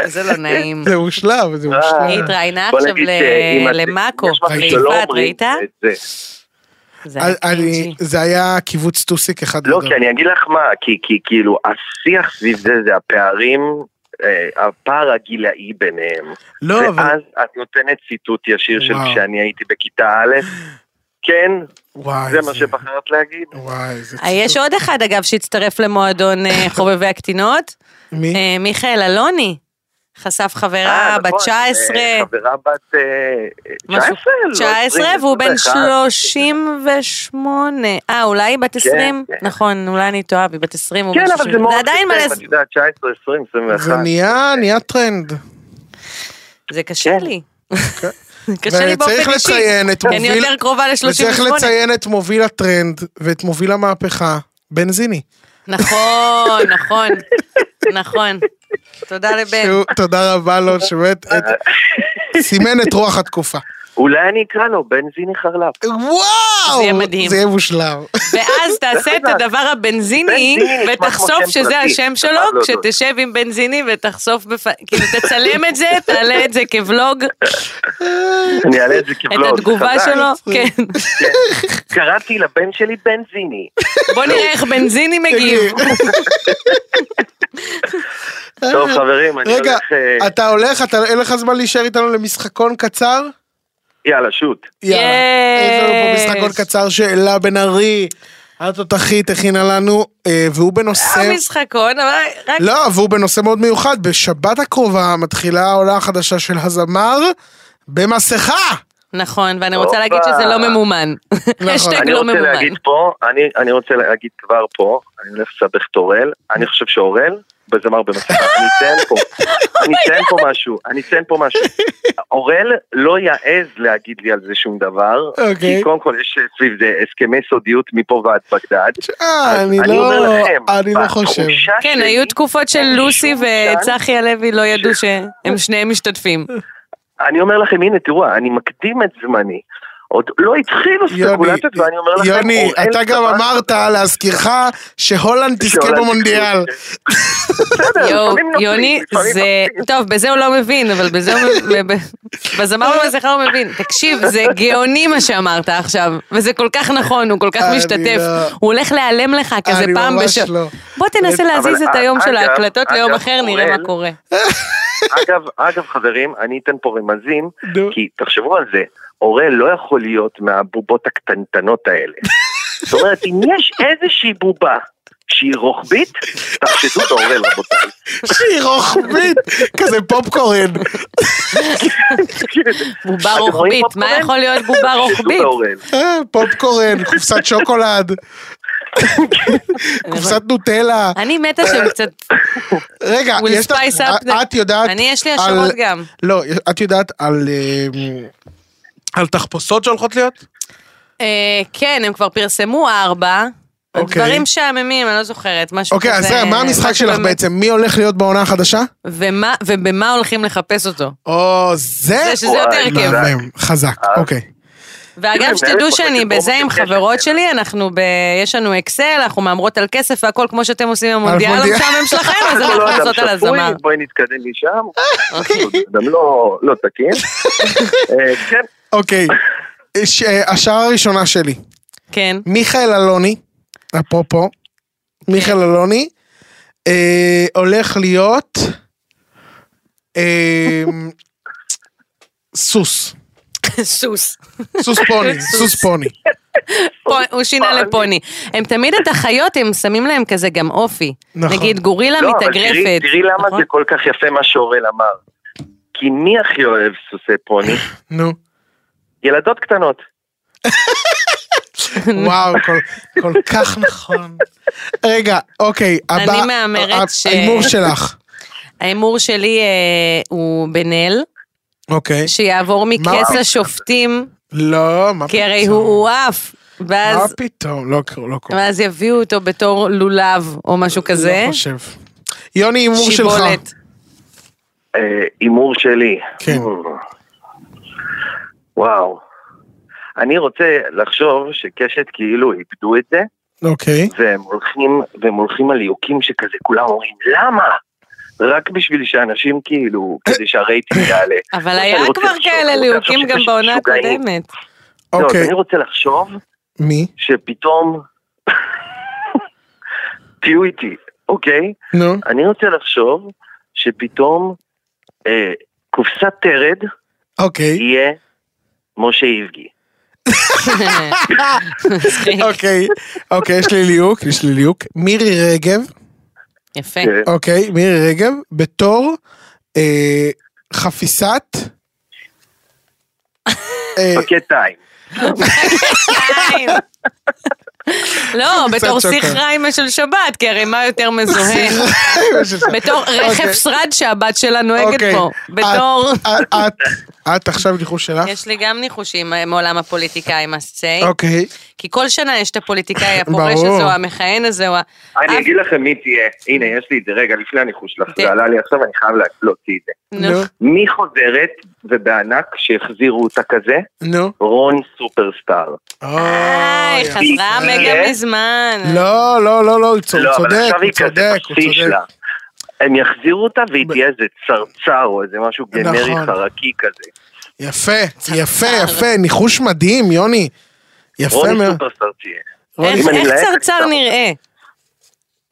Speaker 3: זה לא נעים.
Speaker 2: זה מושלם, זה מושלם.
Speaker 3: היא אה, התראיינה
Speaker 4: אה, בוא
Speaker 3: עכשיו
Speaker 4: נגיד
Speaker 3: ל-
Speaker 4: שאם את-
Speaker 3: למאקו,
Speaker 4: יש משהו שלא
Speaker 3: ליפעת,
Speaker 4: אומרים,
Speaker 3: ראית?
Speaker 4: את זה.
Speaker 3: זה
Speaker 2: אז
Speaker 3: היה
Speaker 2: אני,
Speaker 3: קינג'י.
Speaker 2: זה היה קיבוץ טוסיק אחד
Speaker 4: אה, לא,
Speaker 2: גדול.
Speaker 4: כי אני אגיד לך מה, כי כי- כאילו, השיח סביב זה, זה הפערים, אה, הפער הגילאי ביניהם.
Speaker 2: לא, אבל...
Speaker 4: ואז את נותנת ציטוט ישיר של
Speaker 2: וואו.
Speaker 4: כשאני הייתי בכיתה א', כן,
Speaker 2: וואי,
Speaker 4: זה מה שבחרת להגיד.
Speaker 2: וואי, זה
Speaker 3: אה, יש עוד אחד אגב שהצטרף למועדון אה, חובבי הקטינות,
Speaker 2: מי?
Speaker 3: אה, מיכאל אלוני, חשף חברה
Speaker 4: אה,
Speaker 3: בת
Speaker 4: נכון,
Speaker 3: 19,
Speaker 4: אה, חברה בת אה,
Speaker 3: משהו-
Speaker 4: 19? לא,
Speaker 3: 19
Speaker 4: 20,
Speaker 3: והוא בן
Speaker 4: 21.
Speaker 3: 38, אה אולי היא בת 20?
Speaker 4: כן.
Speaker 3: נכון, אולי אני טועה, היא בת 20, הוא בן
Speaker 4: כן, אבל
Speaker 3: 30.
Speaker 4: זה מאוד...
Speaker 3: זה עדיין
Speaker 4: מתקדם,
Speaker 3: מלא,
Speaker 4: את יודעת, 19, 20, 21.
Speaker 2: זה נהיה, נהיה טרנד.
Speaker 3: זה קשה
Speaker 4: כן.
Speaker 3: לי. קשה לי באופן
Speaker 2: וצריך
Speaker 3: אישי,
Speaker 2: לציין את
Speaker 3: כי אני
Speaker 2: מוביל...
Speaker 3: יותר קרובה
Speaker 2: וצריך
Speaker 3: ל-38.
Speaker 2: לציין את מוביל הטרנד ואת מוביל המהפכה, בנזיני.
Speaker 3: נכון, נכון, נכון. תודה לבן.
Speaker 2: שהוא- תודה רבה לו, שבאמת את- סימן את רוח התקופה.
Speaker 4: אולי אני אקרא לו בנזיני חרלב.
Speaker 2: וואו!
Speaker 3: זה יהיה מדהים.
Speaker 2: זה יהיה מושלם.
Speaker 3: ואז תעשה את הדבר הבנזיני,
Speaker 4: בנזיני נשמע כמו
Speaker 3: ותחשוף
Speaker 4: שם
Speaker 3: שזה
Speaker 4: פרטי. לא,
Speaker 3: השם
Speaker 4: חייב
Speaker 3: שלו,
Speaker 4: להודות.
Speaker 3: כשתשב עם בנזיני ותחשוף, בפ- כאילו תצלם את זה, תעלה את זה כבלוג,
Speaker 4: אני אעלה את זה
Speaker 3: את
Speaker 4: כבלוג.
Speaker 3: התגובה
Speaker 4: חזק.
Speaker 3: שלו, כן.
Speaker 4: כן. קראתי לבן שלי בנזיני.
Speaker 3: בוא נראה איך בנזיני מגיב.
Speaker 4: טוב חברים, אני
Speaker 2: רגע,
Speaker 4: הולך... אה,
Speaker 2: אתה הולך, אתה- אין לך זמן להישאר איתנו למשחקון קצר?
Speaker 4: יאללה, שוט.
Speaker 2: יאללה. יש לנו פה
Speaker 3: יש.
Speaker 2: משחקון קצר שאלה בן ארי, התותחית הכינה לנו, אה, והוא בנושא...
Speaker 3: המשחקון, אבל רק
Speaker 2: לא, והוא בנושא מאוד מיוחד. בשבת הקרובה מתחילה העונה החדשה של הזמר במסכה.
Speaker 3: נכון, ואני רוצה
Speaker 4: הופה.
Speaker 3: להגיד שזה לא ממומן. השטג
Speaker 2: נכון.
Speaker 4: אני
Speaker 3: לא
Speaker 4: רוצה
Speaker 3: ממומן.
Speaker 4: להגיד פה, אני- אני רוצה להגיד כבר פה, אני הולך לסבך את אורל, אני חושב שאורל, בזמר במסכה, אני אציין פה, אני אציין פה משהו, אני אציין פה משהו. אורל לא יעז להגיד לי על זה שום דבר,
Speaker 2: אוקיי.
Speaker 4: כי קודם כל יש אה, סביב זה הסכמי סודיות מפה ועד בגדד.
Speaker 2: אה,
Speaker 4: אז
Speaker 2: אני לא...
Speaker 4: אומר לכם,
Speaker 2: אני לא חושב.
Speaker 4: בתחושה
Speaker 3: כן,
Speaker 4: שלי,
Speaker 3: היו תקופות של לוסי וצחי הלוי לא ידעו שהם שניהם משתתפים.
Speaker 4: אני אומר לכם, הנה, תראו, אני מקדים את זמני. עוד לא התחילו
Speaker 2: יוני,
Speaker 4: ספקולציות, ואני אומר לכם,
Speaker 2: יוני,
Speaker 4: אוראל
Speaker 2: אתה גם
Speaker 4: סבן-
Speaker 2: אמרת, להזכירך, שהולנד תזכה
Speaker 4: שהולנד
Speaker 2: במונדיאל.
Speaker 4: בסדר,
Speaker 3: יואו,
Speaker 4: לפעמים נופלים,
Speaker 3: יוני,
Speaker 4: לפעמים
Speaker 3: זה...
Speaker 4: נופלים.
Speaker 3: טוב, בזה הוא לא מבין, אבל בזה הוא... מ- ב- בזמר
Speaker 4: לא.
Speaker 3: במסכה הוא מבין. תקשיב, זה גאוני מה שאמרת עכשיו, וזה כל כך נכון, הוא כל כך
Speaker 2: אני
Speaker 3: משתתף.
Speaker 2: לא-
Speaker 3: הוא הולך להיעלם לך כזה
Speaker 2: אני
Speaker 3: פעם
Speaker 2: ממש
Speaker 3: בשבוע.
Speaker 2: לא.
Speaker 3: בוא תנסה
Speaker 4: אבל
Speaker 3: להזיז את היום של
Speaker 4: אה, אגב-
Speaker 3: ההקלטות ליום
Speaker 4: אגב,
Speaker 3: אחר, נראה
Speaker 4: אוראל-
Speaker 3: מה קורה.
Speaker 4: אגב, אגב חברים, אני אתן פה רמזים,
Speaker 2: נו.
Speaker 4: כי תחשבו על זה, אורל לא יכול להיות מהבובות הקטנטנות האלה. זאת אומרת, אם יש איזושהי בובה שהיא רוחבית, תחשדו באורל רבותיי.
Speaker 2: שהיא רוחבית, כזה פופקורן.
Speaker 3: בובה
Speaker 4: אתם רואים
Speaker 3: רוחבית, מה
Speaker 4: פופקורן?
Speaker 3: יכול להיות בובה
Speaker 4: תחשדו
Speaker 3: רוחבית?
Speaker 4: באורל.
Speaker 2: אה, פופקורן, קופסת שוקולד, קופסת נוטלה.
Speaker 3: אני מתה שהם קצת...
Speaker 2: רגע,
Speaker 3: We'll
Speaker 2: יש לך-
Speaker 3: spice up the-
Speaker 2: את יודעת...
Speaker 3: אני, יש לי
Speaker 2: אה, על-
Speaker 3: השערות גם.
Speaker 2: לא, את יודעת על... אמ, על תחפושות שהולכות להיות?
Speaker 3: אה, כן, הם כבר פרסמו ארבע.
Speaker 2: אוקיי.
Speaker 3: דברים משעממים, אני לא זוכרת, משהו כזה.
Speaker 2: אוקיי, אז זה, מה המשחק
Speaker 3: משהו
Speaker 2: שלך
Speaker 3: באמת-
Speaker 2: בעצם? מי הולך להיות בעונה החדשה?
Speaker 3: ומה, ובמה הולכים לחפש אותו.
Speaker 2: או, זה...
Speaker 3: זה שזה יותר
Speaker 4: וואי,
Speaker 3: הרכב.
Speaker 4: לא.
Speaker 2: מהמם, חזק, אוקיי.
Speaker 3: ואגב,
Speaker 4: תראי,
Speaker 3: שתדעו
Speaker 4: מנהלת
Speaker 3: שאני
Speaker 4: מחלקת
Speaker 3: בזה עם
Speaker 4: פרומואים
Speaker 3: חברות
Speaker 4: בקשר.
Speaker 3: שלי, אנחנו ב... יש לנו אקסל, אנחנו מהמרות על כסף והכל כמו שאתם עושים עם המונדיאל
Speaker 2: מונדיאל.
Speaker 3: המשעמם שלכם, אז אה,
Speaker 4: הוא
Speaker 3: אנחנו
Speaker 4: לא אדם
Speaker 3: עושות על
Speaker 4: שפוי,
Speaker 3: הזמר. אוקיי.
Speaker 4: בואי נתקדם משם. אדם לא- לא תקין. אה, כן,
Speaker 2: אוקיי. ש- אה, השערה הראשונה שלי,
Speaker 3: כן.
Speaker 2: מיכאל אלוני, אפרופו,
Speaker 3: כן.
Speaker 2: מיכאל אלוני, אה, הולך להיות אה, סוס,
Speaker 3: סוס.
Speaker 2: סוס פוני, סוס פוני.
Speaker 4: אוקיי.
Speaker 3: פו- הוא שינה
Speaker 4: פאני.
Speaker 3: לפוני. הם תמיד את החיות, הם שמים להם כזה גם אופי.
Speaker 2: נכון.
Speaker 3: נגיד גורילה
Speaker 4: לא, אבל תראי
Speaker 3: מתאגרפת.
Speaker 4: תראי למה
Speaker 3: נכון?
Speaker 4: זה כל כך יפה מה שאורל אמר. כי מי הכי אוהב סוסי פוני?
Speaker 2: נו,
Speaker 4: ילדות קטנות.
Speaker 2: וואו, כל- כל כך נכון. רגע, אוקיי, הבא,
Speaker 3: אני מהמרת ש-
Speaker 2: ההימור שלך,
Speaker 3: ההימור שלי אה, הוא בן-אל,
Speaker 2: אוקיי.
Speaker 3: שיעבור מקץ לשופטים,
Speaker 2: לא, מה פתאום?
Speaker 3: כי הרי הוא הוא עף.
Speaker 2: מה
Speaker 3: ואז
Speaker 2: פתאום? לא קורה, לא קורה.
Speaker 3: ואז יביאו אותו בתור לולב או משהו כזה.
Speaker 2: לא חושב. יוני, הימור שלך.
Speaker 3: שיבולת.
Speaker 4: אה, הימור שלי. Mm.
Speaker 2: כן.
Speaker 4: וואו. אני רוצה לחשוב שקשת כאילו איבדו את זה,
Speaker 2: אוקיי.
Speaker 4: והם הולכים, והם הולכים על ליהוקים שכזה, כולם אומרים, למה? רק בשביל שאנשים כאילו, כדי שהרייטינג יעלה.
Speaker 3: אבל
Speaker 4: אני
Speaker 3: היה
Speaker 4: רוצה
Speaker 3: כבר
Speaker 4: לחשוב,
Speaker 3: כאלה
Speaker 4: אני רוצה
Speaker 3: ליהוקים
Speaker 4: לחשוב
Speaker 3: גם
Speaker 4: שקשת
Speaker 3: בעונה
Speaker 4: משוגעים.
Speaker 3: הקודמת.
Speaker 4: לא, אז
Speaker 2: אוקיי.
Speaker 4: אני רוצה לחשוב
Speaker 2: מי?
Speaker 4: שפתאום... תהיו איתי, אוקיי?
Speaker 2: נו.
Speaker 4: אני רוצה לחשוב שפתאום אה, קופסת טרד
Speaker 2: אוקיי.
Speaker 4: יהיה משה איבגי.
Speaker 3: מצחיק,
Speaker 2: אוקיי. אוקיי, יש לי ליהוק, יש לי ליהוק. מירי רגב,
Speaker 3: יפה.
Speaker 4: כן.
Speaker 2: אוקיי, מירי רגב, בתור אה, חפיסת... אה,
Speaker 4: פקט טיים.
Speaker 3: שתיים. לא,
Speaker 2: קצת
Speaker 3: בתור
Speaker 2: שותה.
Speaker 3: שיח ריימה של שבת, כי הרי מה יותר מזוהה? בתור
Speaker 2: אוקיי.
Speaker 3: רכב שרד שהבת שלה נוהגת
Speaker 2: אוקיי.
Speaker 3: פה.
Speaker 2: את-
Speaker 3: בתור...
Speaker 2: את- את- את עכשיו ניחוש שלך?
Speaker 3: יש לי גם ניחושים אה, מעולם הפוליטיקאים, must say.
Speaker 2: אה. אוקיי.
Speaker 3: כי כל שנה יש את הפוליטיקאי הפורש
Speaker 2: ברור.
Speaker 3: הזה, או המכהן הזה, או ה...
Speaker 4: אני
Speaker 3: אף-
Speaker 4: אגיד לכם מי תהיה. הנה, יש לי את זה. רגע, לפני הניחוש שלך,
Speaker 3: כן.
Speaker 4: זה עלה לי עכשיו, אני חייב להוציא את זה.
Speaker 2: לא.
Speaker 3: נו.
Speaker 4: מי חוזרת, ובענק, שהחזירו אותה כזה?
Speaker 2: נו.
Speaker 4: רון סופרסטאר.
Speaker 3: איי,
Speaker 4: לא.
Speaker 2: אוי,
Speaker 3: אה, חזרה
Speaker 2: יפה.
Speaker 3: מגה מזמן.
Speaker 2: לא, לא, לא, לא, הוא צודק,
Speaker 4: לא,
Speaker 2: הוא
Speaker 4: אבל עכשיו היא כזה
Speaker 2: צודק, הוא
Speaker 4: פסיש
Speaker 2: צודק.
Speaker 4: לה. הם יחזירו אותה והיא
Speaker 2: ב-
Speaker 4: תהיה איזה צרצר או איזה משהו גנרי
Speaker 2: נכון.
Speaker 4: חרקי כזה.
Speaker 2: יפה, יפה, יפה, ניחוש מדהים, יוני. יפה
Speaker 4: רוני
Speaker 2: מאוד.
Speaker 4: סופרסטאר תהיה.
Speaker 2: רוני-
Speaker 3: איך
Speaker 4: אם אני
Speaker 3: איך
Speaker 4: אלהק,
Speaker 3: צרצר
Speaker 4: אני
Speaker 3: נראה?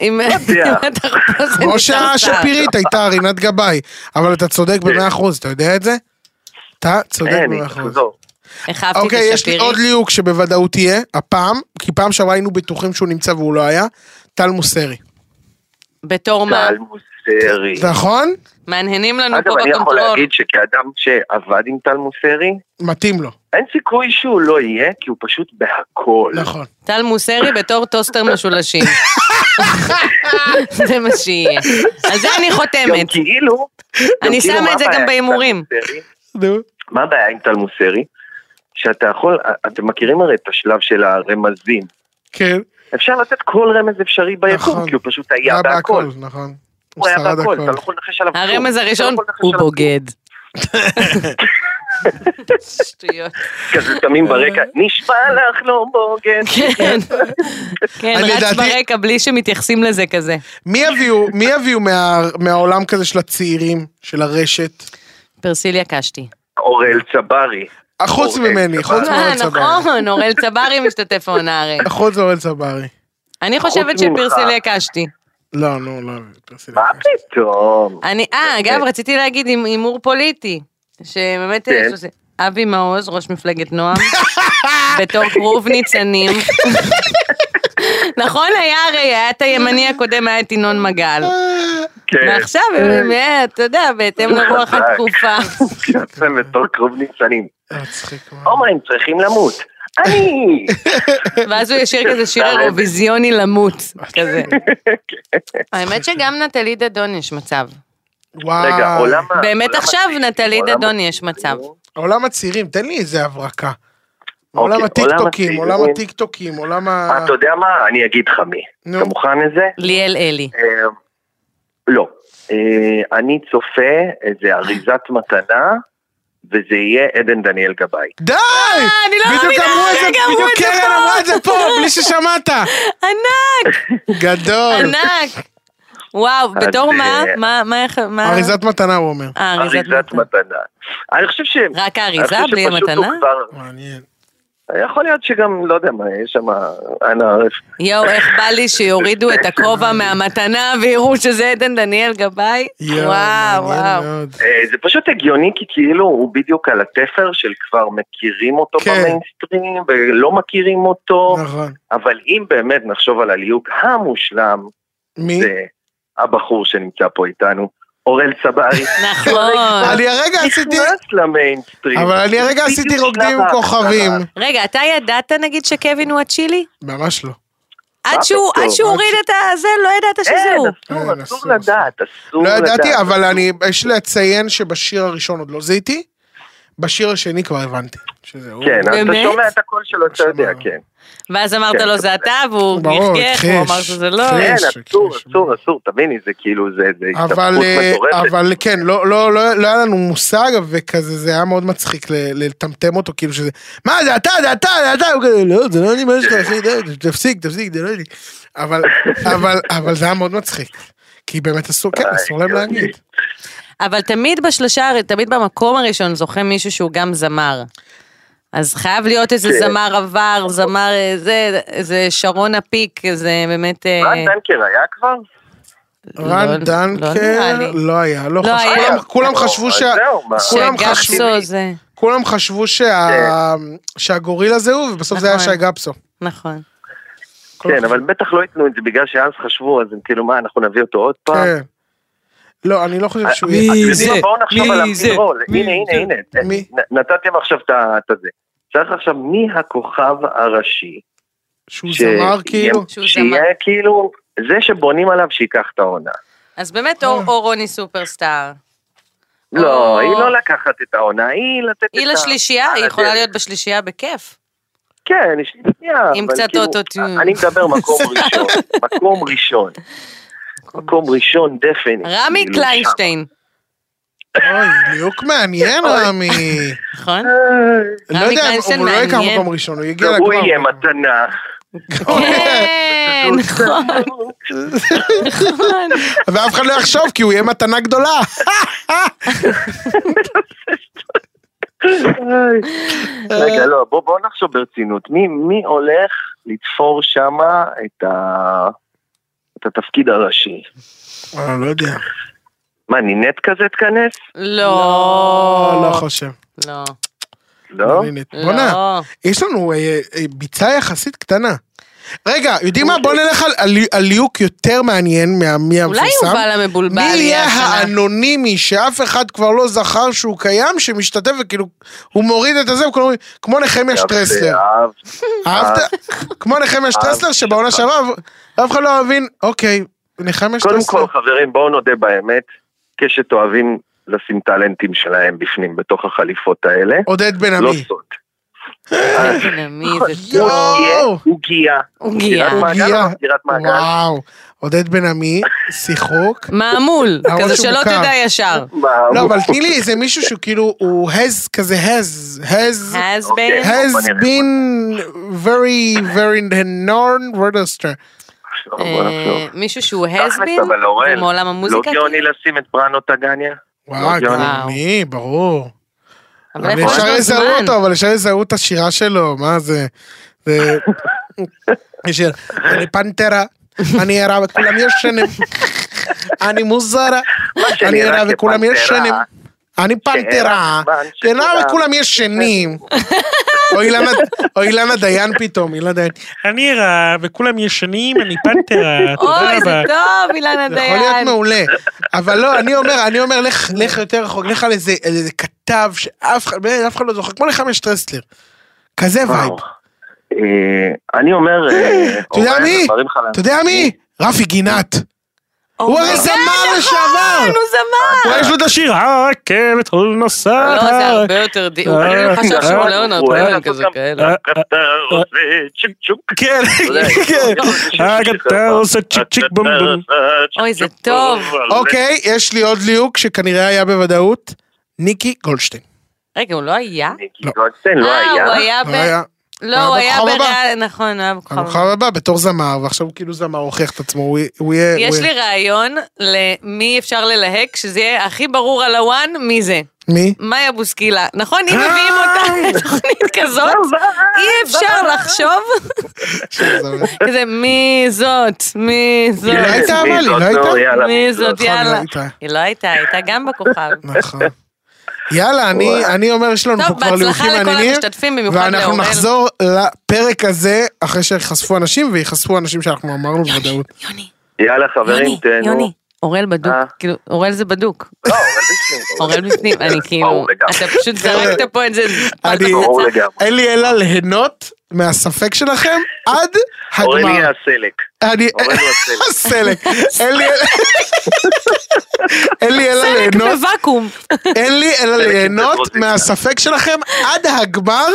Speaker 3: אם
Speaker 4: יודע.
Speaker 3: אם אתה פה זה
Speaker 2: כמו
Speaker 3: נראה
Speaker 2: שהשפירית הייתה רינת גבאי, אבל אתה צודק
Speaker 4: כן.
Speaker 2: במאה אחוז, אתה יודע את זה? אתה צודק
Speaker 4: אין,
Speaker 2: במאה
Speaker 4: היא
Speaker 2: אחוז.
Speaker 4: תחזור.
Speaker 3: צרצר. איך אהבתי
Speaker 2: אוקיי,
Speaker 3: את
Speaker 2: יש לי
Speaker 3: השפירית.
Speaker 2: עוד ליהוק שבוודאות תהיה, הפעם, כי פעם שעברה היינו בטוחים שהוא נמצא והוא לא היה, טל מוסרי.
Speaker 3: בתור מה?
Speaker 4: טל מוסרי.
Speaker 2: נכון?
Speaker 3: מהנהנים לנו פה
Speaker 4: אגב, אני יכול
Speaker 3: בקונטרול.
Speaker 4: להגיד שכאדם שעבד עם טל מוסרי,
Speaker 2: מתאים לו,
Speaker 4: אין סיכוי שהוא לא יהיה, כי הוא פשוט בהכל.
Speaker 2: נכון.
Speaker 3: טל מוסרי בתור טוסטר משולשים. זה מה שיהיה. על זה אני
Speaker 4: גם
Speaker 3: חותמת.
Speaker 4: כאילו... גם
Speaker 3: אני
Speaker 4: כאילו,
Speaker 3: שמה
Speaker 4: מה
Speaker 3: את זה גם
Speaker 4: הבעיה עם טל
Speaker 3: בהימורים.
Speaker 4: מוסרי?
Speaker 2: נו.
Speaker 4: מה הבעיה עם טל מוסרי? שאתה יכול, אתם מכירים הרי את השלב של הרמזים.
Speaker 2: כן,
Speaker 4: אפשר לתת כל רמז אפשרי
Speaker 2: נכון.
Speaker 4: ביקום, כי הוא פשוט היה בהכל.
Speaker 2: נכון.
Speaker 4: הוא היה
Speaker 2: שרד
Speaker 4: בהכל, אתה לא יכול לנחש עליו כלום.
Speaker 3: הרמז
Speaker 4: אתה לא
Speaker 3: הראשון,
Speaker 4: יכול לנחש
Speaker 3: הוא
Speaker 4: עליו
Speaker 3: בוגד. שטויות.
Speaker 4: כלום. כזה תמים ברקע, נשבע לך לא בוגד.
Speaker 3: כן, כן,
Speaker 2: אני
Speaker 3: רץ
Speaker 2: לדעתי-
Speaker 3: ברקע בלי שמתייחסים לזה כזה.
Speaker 2: מי יביאו, מי יביאו מה- מהעולם כזה של הצעירים, של הרשת?
Speaker 3: פרסיליה קשתי.
Speaker 4: אוראל צברי.
Speaker 2: חוץ
Speaker 4: אוראל
Speaker 2: ממני,
Speaker 4: צברי.
Speaker 2: חוץ
Speaker 3: אה,
Speaker 2: מאורל צברי.
Speaker 3: נכון, אורל צברי משתתף העונה הרי.
Speaker 2: חוץ מאורל צברי.
Speaker 3: אני חושבת
Speaker 4: חוץ ממך.
Speaker 3: שפרסיליה קשתי.
Speaker 2: לא, נו, לא, פרסיליה.
Speaker 4: מה פתאום?
Speaker 3: אני, אה,
Speaker 4: אוקיי.
Speaker 3: אגב, רציתי להגיד עם הימור פוליטי, שבאמת,
Speaker 4: כן.
Speaker 3: שזה- אבי מעוז, ראש מפלגת נועם, בתור כרוב ניצנים. נכון, היה הרי, היה את הימני הקודם, היה את ינון מגל.
Speaker 4: כן.
Speaker 3: ועכשיו, הם- אה, אתה יודע, בהתאם לרוח
Speaker 4: חזק.
Speaker 3: התקופה.
Speaker 4: יוצא בתור קרוב ניצנים.
Speaker 2: אה, מצחיק מאוד.
Speaker 4: עומר, הם צריכים למות. אני!
Speaker 3: ואז הוא ישיר כזה שיר אירוויזיוני למות, כזה. האמת שגם נטלי דדון יש מצב.
Speaker 2: וואי.
Speaker 4: רגע, עולם ה...
Speaker 3: באמת
Speaker 4: עולם
Speaker 3: עכשיו
Speaker 4: הצעירים,
Speaker 3: נטלי
Speaker 4: עולם אוקיי,
Speaker 3: דדון
Speaker 4: הצעירים.
Speaker 3: יש מצב.
Speaker 2: עולם הצעירים, תן לי איזה הברקה.
Speaker 4: אוקיי,
Speaker 2: עולם
Speaker 4: עולם
Speaker 2: הטיקטוקים, עולם
Speaker 4: הצעירים.
Speaker 2: הטיקטוקים, עולם ה...
Speaker 4: אה, אתה יודע מה? אני אגיד לך מי.
Speaker 2: נו.
Speaker 4: אתה מוכן לזה?
Speaker 3: ליאל אלי.
Speaker 4: אה, לא. אה, אני צופה איזה אריזת מתנה, וזה יהיה עדן דניאל גבאי.
Speaker 2: די!
Speaker 3: אני לא
Speaker 2: בדיוק
Speaker 3: מאמינה,
Speaker 2: אמרו את זה,
Speaker 3: רגע, אמרו
Speaker 2: בדיוק
Speaker 3: את זה
Speaker 2: קרן
Speaker 3: פה.
Speaker 2: אמרה את זה פה, בלי ששמעת.
Speaker 3: ענק,
Speaker 2: גדול.
Speaker 3: ענק. וואו,
Speaker 4: אז,
Speaker 3: בתור מה?
Speaker 4: אה,
Speaker 3: מה, מה, איך, מה?
Speaker 2: אריזת מתנה, הוא אומר.
Speaker 3: אה,
Speaker 4: אריזת מתנה. אני חושב ש...
Speaker 3: רק
Speaker 4: אני
Speaker 3: האריזה
Speaker 4: חושב
Speaker 3: בלי
Speaker 4: שפשוט
Speaker 3: מתנה?
Speaker 4: הוא כבר-
Speaker 2: מעניין.
Speaker 4: יכול להיות שגם, לא יודע מה, יש שם אנא ערף.
Speaker 3: יואו, איך בא לי שיורידו את הכובע מהמתנה ויראו שזה עדן דניאל גבאי?
Speaker 2: יואו,
Speaker 3: וואו,
Speaker 2: מעניין
Speaker 3: וואו.
Speaker 2: מאוד.
Speaker 4: אה, זה פשוט הגיוני כי כאילו הוא בדיוק על התפר של כבר מכירים אותו
Speaker 2: כן.
Speaker 4: במיינסטרים ולא מכירים אותו,
Speaker 2: נכון.
Speaker 4: אבל אם באמת נחשוב על הליהוק המושלם,
Speaker 2: מי?
Speaker 4: זה אה, הבחור שנמצא פה איתנו, אורל צברי.
Speaker 3: נכון.
Speaker 2: אני הרגע כן, עשיתי...
Speaker 4: נכנס למיינסטרים.
Speaker 2: אבל אני הרגע עשיתי
Speaker 4: בדיוק
Speaker 2: רוקדים עם
Speaker 4: שלב
Speaker 2: כוכבים.
Speaker 4: ההתחלה.
Speaker 3: רגע, אתה ידעת נגיד שקווין הוא הצ'ילי?
Speaker 2: ממש לא.
Speaker 3: עד שהוא
Speaker 4: פתאום?
Speaker 3: עד שהוא
Speaker 2: עד
Speaker 3: הוריד את הזה, לא ידעת שזה
Speaker 4: אין,
Speaker 3: הוא.
Speaker 2: אין,
Speaker 4: כן, אסור,
Speaker 2: כן, אסור,
Speaker 4: אסור לדעת, אסור
Speaker 2: לא
Speaker 4: לדעת.
Speaker 2: ידעתי, אבל אני, יש לציין שבשיר הראשון עוד לא זיהיתי, בשיר השני כבר הבנתי. שזה הוא.
Speaker 4: כן, אז אתה
Speaker 3: באמת?
Speaker 4: שומע את הקול שלו, אתה יודע,
Speaker 2: שמע.
Speaker 4: כן.
Speaker 3: ואז אמרת
Speaker 4: כן.
Speaker 3: לו זה אתה, והוא
Speaker 2: ברור,
Speaker 3: גחגח, הוא
Speaker 2: הכחיש.
Speaker 3: אמר שזה לא.
Speaker 2: הכחיש.
Speaker 4: כן,
Speaker 2: יש,
Speaker 4: אסור,
Speaker 2: יש,
Speaker 4: אסור, אסור, תביני, זה כאילו, זה זה
Speaker 2: אבל,
Speaker 4: הסתבכות
Speaker 2: אה,
Speaker 4: מטורפת.
Speaker 2: אבל כן, לא, לא, לא, לא היה לנו מושג, וכזה, זה היה מאוד מצחיק ל- לטמטם אותו, כאילו שזה, מה, זה אתה, זה אתה, זה אתה, הוא כזה, לא, זה לא אני, מה יש לך, אחי, די, תפסיק, תפסיק, זה לא אני. אבל, אבל, אבל זה היה מאוד מצחיק. כי באמת אסור, כן,
Speaker 4: איי,
Speaker 2: אסור להם
Speaker 4: יופי.
Speaker 2: להגיד.
Speaker 3: אבל תמיד בשלושה, תמיד במקום הראשון זוכה מישהו שהוא גם זמר. אז חייב להיות איזה
Speaker 4: כן.
Speaker 3: זמר עבר, זמר אה, זה, איזה שרון הפיק, זה באמת... אה,
Speaker 4: רן דנקר היה כבר?
Speaker 3: לא-
Speaker 2: רן
Speaker 3: לא נראה
Speaker 2: דנקר,
Speaker 3: לי.
Speaker 2: לא היה, לא
Speaker 3: לא
Speaker 2: חשבו,
Speaker 3: היה.
Speaker 2: כולם- כולם
Speaker 4: לא,
Speaker 2: חשבו
Speaker 4: אז
Speaker 2: שה...
Speaker 4: זהו, מה?
Speaker 2: כולם חשבו...
Speaker 3: שגפסו זה,
Speaker 2: כולם חשבו שה... שהגורילה זה הוא, ובסוף זה היה
Speaker 3: נכון.
Speaker 2: שי גפסו.
Speaker 3: נכון.
Speaker 4: כן, אבל בטח לא ייתנו את זה בגלל שאז חשבו, אז הם כאילו, מה, אנחנו נביא אותו עוד פעם? אה,
Speaker 2: כן. לא, אני לא חושב שהוא
Speaker 4: אתם
Speaker 2: יהיה...
Speaker 4: יודעים
Speaker 5: מי
Speaker 4: מה?
Speaker 5: זה?
Speaker 4: בואו נחשוב
Speaker 5: מי
Speaker 4: על
Speaker 5: זה?
Speaker 4: הפתרון.
Speaker 2: מי
Speaker 4: הנה,
Speaker 2: זה?
Speaker 4: הנה, אה, הנה.
Speaker 2: מי?
Speaker 4: נ- נתתם עכשיו את ה- את הזה. צריך עכשיו, מי הכוכב הראשי
Speaker 2: שהוא זמר כאילו?
Speaker 3: שהוא זמר.
Speaker 4: שיהיה כאילו, זה שבונים עליו שייקח את העונה.
Speaker 3: אז באמת אור אור רוני סופרסטאר. או-
Speaker 4: לא, היא לא לקחת את העונה, היא לתת את ה...
Speaker 3: היא לשלישייה, היא
Speaker 4: על
Speaker 3: יכולה
Speaker 4: הדרך.
Speaker 3: להיות בשלישייה בכיף.
Speaker 4: כן, היא שנייה.
Speaker 3: עם
Speaker 4: אבל
Speaker 3: קצת
Speaker 4: כאילו,
Speaker 3: אוטוטיון.
Speaker 4: אני מדבר מקום ראשון, מקום ראשון. מקום ראשון דפני.
Speaker 3: רמי
Speaker 4: כאילו,
Speaker 3: קליינשטיין,
Speaker 2: אוי, דיוק מעניין רמי.
Speaker 3: נכון?
Speaker 4: שם.
Speaker 2: לא
Speaker 3: רמי
Speaker 2: יודע,
Speaker 3: קליינשטיין
Speaker 2: הוא לא ייקח
Speaker 3: מעניין.
Speaker 2: מקום ראשון, הוא יגיע לגמר.
Speaker 4: אה, הוא יהיה מתנה.
Speaker 3: כן, נכון, נכון.
Speaker 2: ואף אחד לא יחשוב כי הוא יהיה מתנה גדולה.
Speaker 4: רגע, לא, בוא בוא נחשוב ברצינות. מי- מי הולך לתפור שמה את ה- את התפקיד הראשי?
Speaker 2: אה, לא יודע.
Speaker 4: מה, נינט כזה תכנס?
Speaker 2: לא, לא
Speaker 3: לא,
Speaker 2: חושב.
Speaker 3: לא,
Speaker 4: לא?
Speaker 2: אני נט- בוא'נה,
Speaker 3: לא.
Speaker 2: יש לנו אה, אה, ביצה יחסית קטנה. רגע, יודעים מה? בוא נלך על- על- על ליהוק יותר מעניין מהמי המפורסם.
Speaker 3: אולי יובל המבולבל
Speaker 2: מי יהיה
Speaker 3: יהיה השנה.
Speaker 2: האנונימי שאף אחד כבר לא זכר שהוא קיים, שמשתתף וכאילו, הוא מוריד את הזה, וכולם אומרים, כמו נחמיה
Speaker 4: יפה,
Speaker 2: שטרסלר.
Speaker 4: אהבתי.
Speaker 2: אהבת? כמו נחמיה שטרסלר שבעונה שעברה, אף אחד לא הבין, אוקיי, נחמיה
Speaker 4: קודם
Speaker 2: שטרסלר.
Speaker 4: כל, חברים, בואו נודה באמת, קשת אוהבים לשים טאלנטים שלהם בפנים, בתוך החליפות האלה.
Speaker 2: עודד בן
Speaker 4: לא
Speaker 2: עמי.
Speaker 4: סוד.
Speaker 3: מי זה
Speaker 2: יואו.
Speaker 3: טוב.
Speaker 4: הוא עוגיה.
Speaker 3: עוגיה.
Speaker 4: סגירת מעגל
Speaker 2: עוגיה.
Speaker 4: או סגירת מעגל?
Speaker 2: וואו, עודד בן עמי, שיחוק.
Speaker 3: מעמול,
Speaker 2: הראש
Speaker 3: כזה
Speaker 2: הוא
Speaker 3: שלא
Speaker 2: מוכר.
Speaker 3: תדע ישר.
Speaker 4: מה,
Speaker 2: לא,
Speaker 4: הוא-
Speaker 2: אבל תני לי איזה מישהו שהוא כאילו, הוא has כזה has, has,
Speaker 3: אז בין-
Speaker 4: אוקיי.
Speaker 2: has
Speaker 4: בוא נראה,
Speaker 2: been very, very known רודסטר.
Speaker 4: טוב, בוא נחשוב.
Speaker 3: אה, מישהו שהוא
Speaker 4: תכלס,
Speaker 3: הסבין,
Speaker 4: אבל אורל,
Speaker 3: מעולם המוזיקה, כאילו.
Speaker 4: לא גאוני לשים את בראנו טגניה?
Speaker 2: וואו,
Speaker 4: לא
Speaker 2: גאוני, ברור.
Speaker 3: אבל
Speaker 2: אבל
Speaker 3: איפה יש
Speaker 2: אפשר
Speaker 3: לו
Speaker 2: לזהו
Speaker 3: זמן?
Speaker 2: אותו, אבל אפשר לזהו את השירה שלו, מה זה? זה... יש שיר, אני פנתרה, אני ערה וכולם ישנים. אני מוזרה,
Speaker 4: שנראה
Speaker 2: אני ערה וכולם
Speaker 4: כפנתרה,
Speaker 2: ישנים. אני פנתרה,
Speaker 4: בזמן
Speaker 2: כן,
Speaker 4: שכולם-
Speaker 2: וכולם ישנים. או אילנה- או אילנה דיין פתאום, אילנה דיין. אני ערה וכולם ישנים, אני פנתרה,
Speaker 3: אוי, זה טוב, אילנה
Speaker 2: זה יכול להיות
Speaker 3: דיין.
Speaker 2: מעולה. אבל לא, אני אומר, אני אומר, לך- לך יותר רחוק, לך על איזה על איזה כתב שאף אחד באמת, אף אחד לא זוכר, כמו לחמש טרסלר. כזה וייב.
Speaker 4: וואו. אה, אני אומר... אה,
Speaker 2: אתה יודע
Speaker 4: אורל,
Speaker 2: מי?
Speaker 4: דברים חלק.
Speaker 2: אתה יודע מי? רפי גינת. הוא הרי זמר לשעבר.
Speaker 3: נכון, הוא זמר.
Speaker 2: יש לו את השיר, הרכבת נוסעת.
Speaker 3: לא, זה הרבה יותר די... הוא
Speaker 2: אה,
Speaker 3: כאילו חשב שהוא ליאונרד
Speaker 4: הוא אוהב
Speaker 3: כהן
Speaker 4: לעשות
Speaker 3: כזה
Speaker 4: גם-
Speaker 3: כאלה.
Speaker 4: אתה רוצה צ'יק צ'וק.
Speaker 2: כן,
Speaker 4: אתה
Speaker 3: לא,
Speaker 4: יודע,
Speaker 2: כן.
Speaker 4: יש לו איזה שיר
Speaker 2: אתה
Speaker 4: שלך.
Speaker 2: עושה צ'יק צ'יק בום בום.
Speaker 4: אתה עושה צ'יק
Speaker 3: אוי, זה
Speaker 4: צ'יק בום
Speaker 3: טוב.
Speaker 4: בום.
Speaker 2: אוקיי, יש לי עוד ליהוק שכנראה היה בוודאות, ניקי גולדשטיין.
Speaker 3: רגע, הוא לא היה?
Speaker 4: מיקי גולדשטיין לא
Speaker 3: אה,
Speaker 4: היה.
Speaker 3: הוא היה ב...
Speaker 2: לא היה.
Speaker 3: לא, הוא
Speaker 2: הוא היה
Speaker 3: היה
Speaker 2: בכוכב הבא.
Speaker 3: בריאל... נכון, הוא היה בכוכב הבא.
Speaker 2: המחר הבא בתור זמר, ועכשיו הוא כאילו זמר הוכיח את עצמו, הוא יהיה- הוא יהיה...
Speaker 3: יש
Speaker 2: כן, הוא
Speaker 3: לי
Speaker 2: יהיה-
Speaker 3: רעיון למי אפשר ללהק, שזה יהיה הכי ברור על הוואן, מי זה.
Speaker 2: מי?
Speaker 3: מאיה בוסקילה. נכון, אם מביאים אותה לתוכנית
Speaker 2: לא,
Speaker 3: כזאת,
Speaker 4: לא,
Speaker 3: אי אפשר לחשוב כזה, מי זאת? מי
Speaker 2: היא לא
Speaker 3: זאת?
Speaker 2: הייתה אבל, היא לא
Speaker 4: כן, מי זאת?
Speaker 2: הייתה?
Speaker 4: נו, יאללה,
Speaker 3: מי זאת?
Speaker 2: נכון,
Speaker 3: יאללה.
Speaker 2: היא לא הייתה.
Speaker 3: היא לא הייתה, הייתה גם בכוכב.
Speaker 2: נכון. יאללה, אני- אני אומר, יש לנו פה
Speaker 3: טוב,
Speaker 2: כבר ליהוקים
Speaker 3: בהצלחה לכל
Speaker 2: מעניינים,
Speaker 3: המשתתפים, במיוחד
Speaker 2: ואנחנו
Speaker 3: לאורל.
Speaker 2: נחזור לפרק הזה אחרי שיחשפו אנשים, וייחשפו אנשים שאנחנו אמרנו בוודאות.
Speaker 3: יוני,
Speaker 4: יאללה חברים,
Speaker 3: יוני,
Speaker 4: תהנו.
Speaker 3: יוני. אורל בדוק,
Speaker 4: אה?
Speaker 3: כאילו, אורל זה בדוק.
Speaker 4: לא, אורל בפנים.
Speaker 3: אורל בפנים, אני כאילו,
Speaker 4: ברור לגמרי.
Speaker 3: אתה פשוט זרקת פה את זה.
Speaker 2: אני-
Speaker 4: ברור לגמרי.
Speaker 2: אין לי אלא ליהנות מהספק שלכם עד
Speaker 4: אורל
Speaker 2: הגמר.
Speaker 4: יהיה הסלק.
Speaker 2: אני...
Speaker 4: אורל הוא הסלק.
Speaker 2: סלק. אין לי אלא- אין לי אלא ליהנות,
Speaker 3: בוואקום.
Speaker 2: אין לי אלא
Speaker 4: סלק עם
Speaker 2: ליהנות
Speaker 4: פטרוזיליה.
Speaker 2: מהספק שלכם עד הגמר,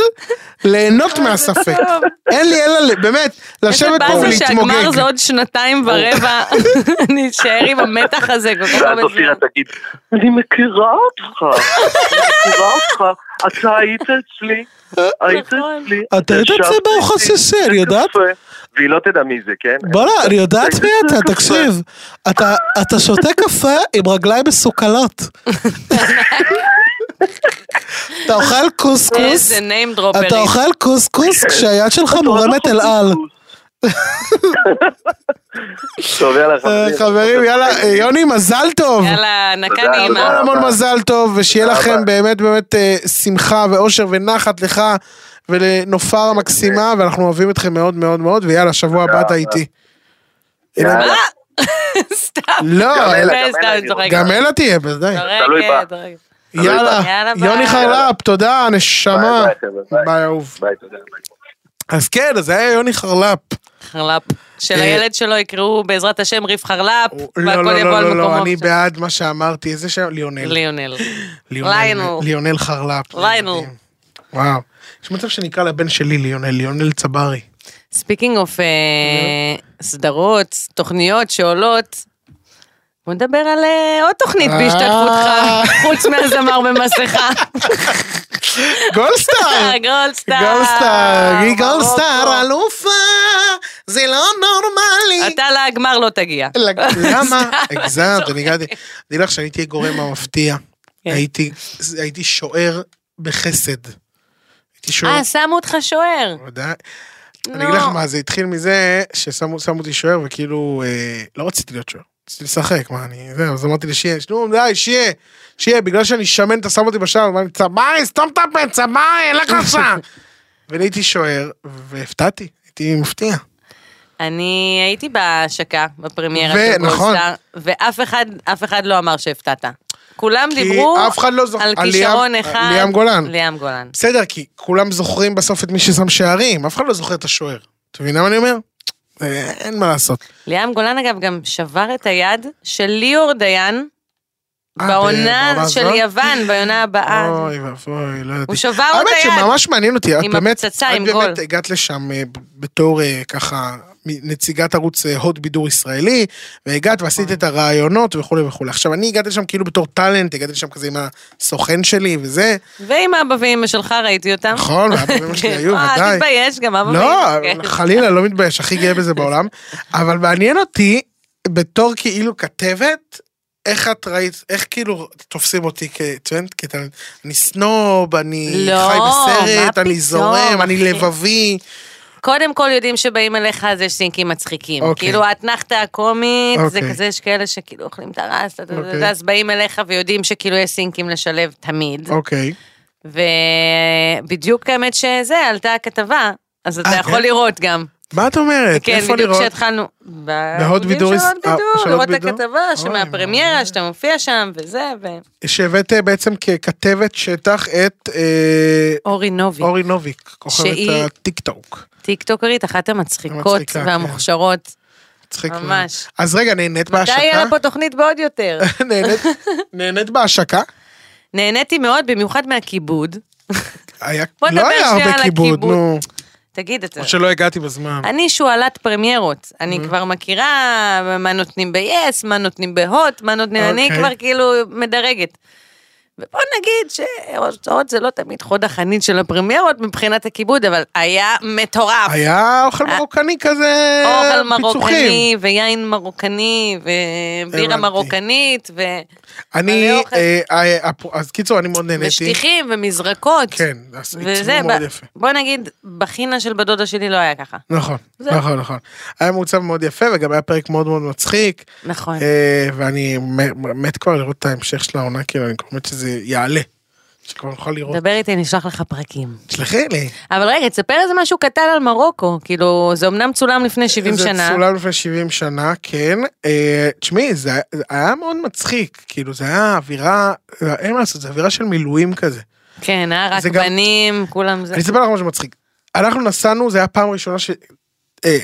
Speaker 2: ליהנות מהספק.
Speaker 3: טוב.
Speaker 2: אין לי אלא, ל- באמת,
Speaker 3: איזה
Speaker 2: לשבת פה
Speaker 3: באסה שהגמר זה
Speaker 2: ולהתמוגג.
Speaker 3: עוד שנתיים ורבע. אני אשאר עם המתח הזה כל כך
Speaker 4: ואז
Speaker 3: הרבה
Speaker 4: אופירה
Speaker 3: זמן.
Speaker 4: תגיד, לא אני מכירה אותך, אני מכירה אותך, אתה היית אצלי, היית
Speaker 3: נכון.
Speaker 4: אצלי.
Speaker 2: אתה היית אצלי
Speaker 4: ישבת
Speaker 2: בארוחת
Speaker 4: איתי,
Speaker 2: ששי,
Speaker 4: זה
Speaker 2: אני יודעת.
Speaker 4: קפה." והיא לא תדע מי זה, כן?
Speaker 2: בואנה, אני יודעת מי אתה, תקשיב. אתה, אתה שותה קפה עם רגליים מסוכלות. אתה אוכל קוסקוס,
Speaker 3: איזה name dropper.
Speaker 2: אתה אוכל קוסקוס כשהיד שלך מורמת אל על.
Speaker 4: טוב, יאללה, חברים.
Speaker 2: חברים, יאללה, אה, יוני, מזל טוב.
Speaker 3: יאללה, נקה
Speaker 4: תודה,
Speaker 3: נעימה.
Speaker 2: המון
Speaker 4: תודה.
Speaker 2: המון
Speaker 4: רבה.
Speaker 2: מזל טוב, ושיהיה
Speaker 4: תודה
Speaker 2: לכם
Speaker 4: רבה.
Speaker 2: באמת באמת אה, שמחה ואושר ונחת לך ולנופר המקסימה, ואנחנו אוהבים אתכם מאוד מאוד מאוד, ויאללה, שבוע הבא אתה איתי.
Speaker 4: יאללה,
Speaker 3: סתם.
Speaker 2: לא,
Speaker 4: אלה,
Speaker 2: אלא-
Speaker 4: גם
Speaker 3: סתם,
Speaker 4: אלה אני
Speaker 3: צוחקת.
Speaker 2: גם אלה תהיה, בוודאי.
Speaker 4: תלוי בה.
Speaker 3: דורגת, דורגת.
Speaker 4: תלוי בה.
Speaker 2: יאללה,
Speaker 3: יאללה, ביי.
Speaker 2: יוני חרל"פ, תודה, נשמה.
Speaker 4: ביי, ביי, חבר'ה, ביי.
Speaker 2: ביי, אהוב.
Speaker 4: ביי, תודה. ביי.
Speaker 2: אז כן, אז זה היה יוני חרלפ.
Speaker 3: חרל"פ. של
Speaker 2: אה,
Speaker 3: הילד שלו יקראו בעזרת השם ריף חרל"פ,
Speaker 2: הוא- לא,
Speaker 3: והכל
Speaker 2: לא,
Speaker 3: יבוא
Speaker 2: לא,
Speaker 3: על
Speaker 2: לא,
Speaker 3: מקומו.
Speaker 2: לא, אני
Speaker 3: עכשיו.
Speaker 2: בעד מה שאמרתי, איזה שם? ליונל.
Speaker 3: ליונל.
Speaker 2: ליונל-
Speaker 3: ליונל.
Speaker 2: ליונל חרלפ.
Speaker 3: ליונל.
Speaker 2: מדהים. וואו. יש מצב שנקרא לבן שלי ליונל, ליונל צברי.
Speaker 3: ספיקינג אוף אה, סדרות, תוכניות שעולות, בוא נדבר על אה, עוד תוכנית בהשתתפותך,
Speaker 2: אה.
Speaker 3: חוץ מהזמר במסכה.
Speaker 2: גולדסטאר!
Speaker 3: גולדסטאר.
Speaker 2: גולדסטאר, היא
Speaker 3: מרוקו.
Speaker 2: גולדסטאר אלופה, זה לא נורמלי.
Speaker 3: אתה לגמר לא תגיע.
Speaker 2: למה? הגזמת, אני הגעתי. אני לך שאני תהיה גורם המפתיע.
Speaker 3: כן.
Speaker 2: הייתי הייתי שוער בחסד. הייתי שוער.
Speaker 3: אה, לא. שמו אותך שוער.
Speaker 2: ודאי. אני
Speaker 3: נו.
Speaker 2: אגיד לך מה, זה התחיל מזה ששמו שמו אותי שוער וכאילו אה, לא רציתי להיות שוער. רציתי לשחק, מה אני, זהו, אז אמרתי לשיה, נו די, שיה, שיה, בגלל שאני שמן אתה שם אותי בשער, אמרתי, צברי, סתום את הפה, צברי, לך לשם. ונהייתי שוער, והפתעתי, הייתי מפתיע.
Speaker 3: אני הייתי בהשקה, בפרמיירה
Speaker 2: ו-
Speaker 3: של
Speaker 2: נכון.
Speaker 3: גולדסטאר, ואף אחד, אף אחד לא אמר שהפתעת. כולם
Speaker 2: כי
Speaker 3: דיברו
Speaker 2: אף אחד לא זוכ-
Speaker 3: על
Speaker 2: על
Speaker 3: כישרון
Speaker 2: ליאם-
Speaker 3: אחד.
Speaker 2: ליאם גולן.
Speaker 3: ליאם גולן.
Speaker 2: בסדר, כי כולם זוכרים בסוף את מי ששם שערים, אף אחד לא זוכר את השוער. אתה מבינה מה אני אומר? אה, אין מה לעשות.
Speaker 3: ליאם גולן אגב גם שבר את היד של ליאור דיין
Speaker 2: אה,
Speaker 3: בעונה
Speaker 2: בעונה
Speaker 3: של
Speaker 2: הזאת?
Speaker 3: יוון, בעונה הבאה.
Speaker 2: אוי ואבוי, לא ידעתי.
Speaker 3: אה, הוא שבר אותה יד.
Speaker 2: האמת שממש מעניין אותי, את
Speaker 3: עם
Speaker 2: באמת, את
Speaker 3: הפצצה, עם גול.
Speaker 2: באמת הגעת לשם אה, בתור אה, ככה מ- נציגת ערוץ אה, הוד בידור ישראלי, והגעת
Speaker 3: נכון.
Speaker 2: ועשית את הרעיונות וכולי וכולי. עכשיו אני הגעתי לשם כאילו בתור טאלנט, הגעתי לשם כזה עם הסוכן שלי וזה,
Speaker 3: ועם אבא ואמא שלך ראיתי אותם.
Speaker 2: נכון, ואבא ואמא שלי היו,
Speaker 3: אה,
Speaker 2: ודאי.
Speaker 3: תתבייש, גם אבא
Speaker 2: לא,
Speaker 3: ואמא. כן.
Speaker 2: חלילה, לא מתבייש, הכי גאה בזה בעולם. אבל מעניין אותי, בתור כאילו כתבת, איך את ראית, איך כאילו תופסים אותי כטרנד, כטרנד? אני סנוב, אני
Speaker 3: לא,
Speaker 2: חי בסרט,
Speaker 3: מה
Speaker 2: אני
Speaker 3: פתאום,
Speaker 2: זורם, אני
Speaker 3: אחי.
Speaker 2: לבבי.
Speaker 3: קודם כל יודעים שבאים אליך אז יש סינקים מצחיקים.
Speaker 2: אוקיי.
Speaker 3: כאילו האתנחתא הקומית, זה
Speaker 2: אוקיי.
Speaker 3: כזה, יש כאלה שכאילו אוכלים את הרס, אתה- אתה- אתה-
Speaker 2: אוקיי.
Speaker 3: אז באים אליך ויודעים שכאילו יש סינקים לשלב תמיד.
Speaker 2: אוקיי.
Speaker 3: ובדיוק האמת שזה, עלתה הכתבה, אז אתה
Speaker 2: אה,
Speaker 3: יכול
Speaker 2: כן?
Speaker 3: לראות גם.
Speaker 2: מה את אומרת?
Speaker 3: כן,
Speaker 2: איפה
Speaker 3: בדיוק
Speaker 2: לראות?
Speaker 3: כשהתחלנו.
Speaker 2: בהוד
Speaker 3: בעמודים
Speaker 2: בידור
Speaker 3: של הוד
Speaker 2: יש- אה,
Speaker 3: בידור,
Speaker 2: של הוד
Speaker 3: לראות את
Speaker 2: בידור?
Speaker 3: הכתבה
Speaker 2: אוי,
Speaker 3: שמהפרמיירה, שאתה מופיע שם וזה,
Speaker 2: שהבאת אה, בעצם ככתבת שטח את אה,
Speaker 3: ואורי נובי,
Speaker 2: אורי נוביק, כוכבת
Speaker 3: שהיא-
Speaker 2: הטיק טוק.
Speaker 3: טיקטוקרית, אחת המצחיקות
Speaker 2: המצחיקה, כן.
Speaker 3: והמוכשרות.
Speaker 2: מצחיק מאוד.
Speaker 3: ממש.
Speaker 2: אז רגע, נהנית
Speaker 3: מתי יהיה
Speaker 2: בהשקה?
Speaker 3: לה פה תוכנית בעוד יותר?
Speaker 2: נהנית- נהנית בהשקה?
Speaker 3: נהניתי מאוד, במיוחד מהכיבוד.
Speaker 2: היה,
Speaker 3: בוא
Speaker 2: לא
Speaker 3: נדבר
Speaker 2: היה
Speaker 3: שנייה על
Speaker 2: הרבה כיבוד,
Speaker 3: הכיבוד.
Speaker 2: נו.
Speaker 3: תגיד את זה.
Speaker 2: או שלא הגעתי בזמן.
Speaker 3: אני שועלת פרמיירות,
Speaker 2: Mm-hmm.
Speaker 3: אני כבר מכירה מה נותנים ב-yes, מה נותנים בהוט, מה נותנים, אני
Speaker 2: אוקיי.
Speaker 3: כבר כאילו מדרגת. ובוא נגיד שהוצאות זה לא תמיד חוד החנית של הפרמיירות מבחינת הכיבוד, אבל היה מטורף.
Speaker 2: היה אוכל מרוקני כזה,
Speaker 3: אה, אוכל
Speaker 2: פיצוחים.
Speaker 3: מרוקני, ויין מרוקני, ובירה
Speaker 2: הבנתי.
Speaker 3: מרוקנית, ו...
Speaker 2: אני,
Speaker 3: מלא לא אוכל.
Speaker 2: אה, אה, הפ- אז קיצור, אני מאוד נהניתי.
Speaker 3: ושטיחים ומזרקות.
Speaker 2: כן, אז
Speaker 3: וזה,
Speaker 2: עיצבו מאוד
Speaker 3: ב-
Speaker 2: יפה.
Speaker 3: בוא נגיד, בחינה של בדודה שלי לא היה ככה.
Speaker 2: נכון,
Speaker 3: זהו.
Speaker 2: נכון, נכון. היה מעוצב מאוד יפה, וגם היה פרק מאוד מאוד מצחיק,
Speaker 3: נכון.
Speaker 2: אה, ואני מ- מ- מת כבר לראות את ההמשך של העונה, כאילו, אני כבר מת שזה יעלה. שכבר נוכל לראות.
Speaker 3: דבר איתי, אני אשלח לך פרקים.
Speaker 2: תשלחי לי.
Speaker 3: אבל רגע, תספר איזה משהו קטן על מרוקו. כאילו, זה אמנם צולם לפני 70 שנה.
Speaker 2: זה צולם לפני 70 שנה, כן. אה, תשמעי, זה זה היה מאוד מצחיק, כאילו, זה היה אווירה, אין מה לעשות, זה אווירה של מילואים כזה.
Speaker 3: כן, אה, רק
Speaker 2: זה גם-
Speaker 3: בנים, כולם זה.
Speaker 2: אני אספר לך משהו מצחיק. אנחנו נסענו, זה היה פעם ראשונה ש... אה,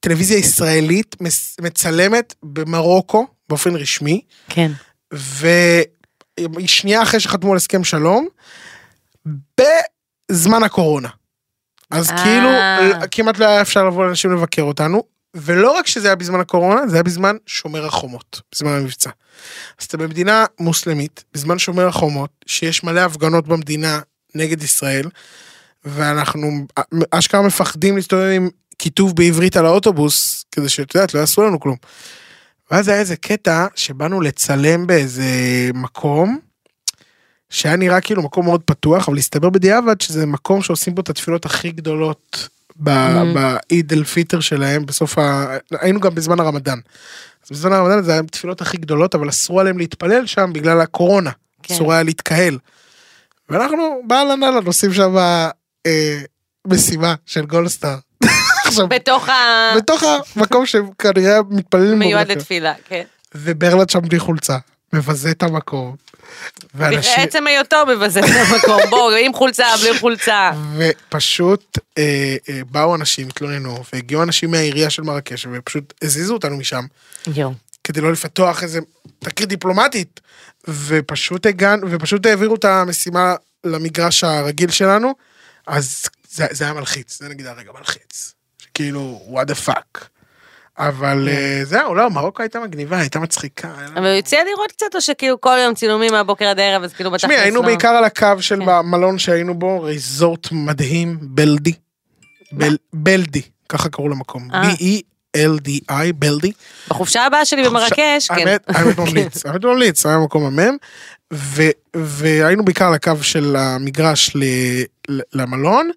Speaker 2: טלוויזיה ישראלית מס- מצלמת במרוקו באופן רשמי,
Speaker 3: כן.
Speaker 2: ושנייה אחרי שחתמו על הסכם שלום, בזמן הקורונה. אז
Speaker 3: אה.
Speaker 2: כאילו ל- כמעט לא היה אפשר לבוא לאנשים לבקר אותנו, ולא רק שזה היה בזמן הקורונה, זה היה בזמן שומר החומות, בזמן המבצע. אז אתה במדינה מוסלמית, בזמן שומר החומות, שיש מלא הפגנות במדינה נגד ישראל, ואנחנו אה, אשכרה מפחדים להסתובב עם כיתוב בעברית על האוטובוס, כדי שאת יודעת, לא יעשו לנו כלום. ואז היה איזה קטע שבאנו לצלם באיזה מקום, שהיה נראה כאילו מקום מאוד פתוח, אבל הסתבר בדיעבד שזה מקום שעושים בו את התפילות הכי גדולות ב- בעיד אל פיטר שלהם, בסוף ה... היינו גם בזמן הרמדאן. אז בזמן הרמדאן זה היה התפילות הכי גדולות, אבל אסרו עליהם להתפלל שם בגלל הקורונה.
Speaker 3: כן.
Speaker 2: אסור היה להתקהל. ואנחנו באהלן אהלן עושים שם אה, משימה של גולדסטאר. עכשיו,
Speaker 3: בתוך ה...
Speaker 2: בתוך המקום שכנראה מתפללים בו.
Speaker 3: מיועד
Speaker 2: בדרך כלל.
Speaker 3: לתפילה, כן.
Speaker 2: וברלד שם בלי חולצה. מבזה את המקום. ואנשים,
Speaker 3: עצם היותו מבזה את המקום, בואו, עם חולצה, בלי חולצה.
Speaker 2: ופשוט אה, אה, באו אנשים, התלוננו, והגיעו אנשים מהעירייה של מרקש, ופשוט הזיזו אותנו משם,
Speaker 3: יואו.
Speaker 2: כדי לא לפתוח איזה תקרית דיפלומטית. ופשוט הגענו, ופשוט העבירו את המשימה למגרש הרגיל שלנו, אז זה, זה היה מלחיץ, זה נגיד הרגע מלחיץ. שכאילו, what the fuck. אבל אה, זהו, לא, מרוקו הייתה מגניבה, הייתה מצחיקה. היה לנו-
Speaker 3: כן. אבל יוצא לראות קצת, או שכאילו כל יום צילומים מהבוקר עד הערב, אז כאילו בתכלס
Speaker 2: תשמעי, היינו
Speaker 3: לא.
Speaker 2: בעיקר על הקו של
Speaker 3: כן.
Speaker 2: המלון שהיינו בו, ריזורט מדהים, בלדי. בל- בלדי, ככה קראו למקום.
Speaker 3: אה.
Speaker 2: B-E-L-D-I, בלדי.
Speaker 3: בחופשה הבאה שלי במרקש, כן.
Speaker 2: האמת, האמת ממליץ, האמת ממליץ, היה מקום המם. ו- והיינו בעיקר על הקו של המגרש ל- ל- למלון,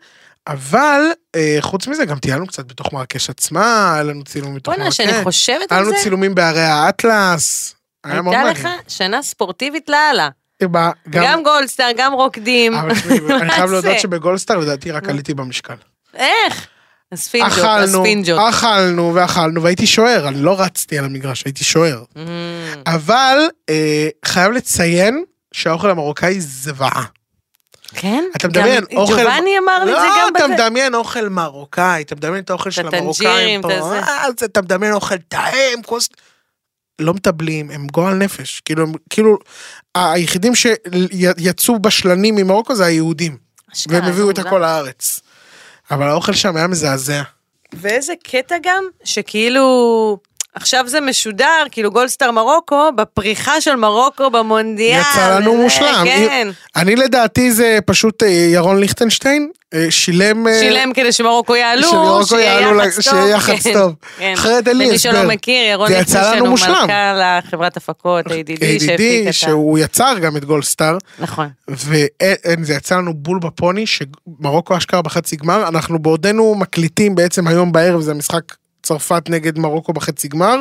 Speaker 2: אבל אה, חוץ מזה גם טיילנו קצת בתוך מרקש עצמה, היה לנו צילום בתוך
Speaker 3: בואנה,
Speaker 2: מרקש.
Speaker 3: שאני חושבת
Speaker 2: היה
Speaker 3: על
Speaker 2: לנו
Speaker 3: זה,
Speaker 2: צילומים בערי האטלס. היה מאוד
Speaker 3: הייתה לך
Speaker 2: מעניין.
Speaker 3: שנה ספורטיבית לאללה.
Speaker 2: בה-
Speaker 3: גם גולדסטאר, גם רוקדים.
Speaker 2: אבל תשמעי, אני חייב
Speaker 3: מה זה?
Speaker 2: להודות שבגולדסטאר לדעתי רק עליתי במשקל.
Speaker 3: איך? הספינג'ות,
Speaker 2: אכלנו,
Speaker 3: הספינג'ות.
Speaker 2: אכלנו ואכלנו והייתי שוער, אני לא רצתי על המגרש, הייתי שוער.
Speaker 3: אמ,
Speaker 2: אבל אה, חייב לציין שהאוכל המרוקאי זוועה.
Speaker 3: כן?
Speaker 2: אתה מדמיין,
Speaker 3: גם
Speaker 2: אוכל...
Speaker 3: ג'ובאני אמר לי את זה
Speaker 2: לא,
Speaker 3: גם
Speaker 2: אתה
Speaker 3: בזה.
Speaker 2: מדמיין אוכל מרוקאי, אתה מדמיין את האוכל של
Speaker 3: הטנג'ירים,
Speaker 2: המרוקאים פה,
Speaker 3: את הזה.
Speaker 2: אה, אז אתה מדמיין אוכל טעים, כוס... לא מטבלים, הם גועל נפש. כאילו, הם- כאילו, היחידים שיצאו בשלנים ממרוקו זה היהודים.
Speaker 3: אשכרה,
Speaker 2: והם הביאו את
Speaker 3: זה מוזר.
Speaker 2: הכל לארץ. אבל האוכל שם היה מזעזע.
Speaker 3: ואיזה קטע גם, שכאילו... עכשיו זה משודר, כאילו גולדסטאר מרוקו, בפריחה של מרוקו במונדיאל.
Speaker 2: יצא לנו
Speaker 3: וזה,
Speaker 2: מושלם.
Speaker 3: כן.
Speaker 2: אני לדעתי זה פשוט אה, ירון ליכטנשטיין, אה, שילם... אה,
Speaker 3: שילם כדי שמרוקו יעלו,
Speaker 2: שמרוקו יעלו ל- שיהיה יח"צ
Speaker 3: כן,
Speaker 2: טוב.
Speaker 3: כן.
Speaker 2: אחרת אין לי
Speaker 3: למי
Speaker 2: הסבר.
Speaker 3: שלא מכיר, ירון
Speaker 2: זה יצא לנו
Speaker 3: ליכטנשטיין הוא
Speaker 2: מושלם.
Speaker 3: מנכ"ל החברת הפקות, ADD, שהפיק
Speaker 2: ADD,
Speaker 3: את ה...
Speaker 2: שהוא יצר גם את גולדסטאר,
Speaker 3: נכון.
Speaker 2: וזה יצא לנו בול בפוני, שמרוקו אשכרה בחצי גמר, אנחנו בעודנו מקליטים בעצם היום בערב, זה המשחק צרפת נגד מרוקו בחצי גמר,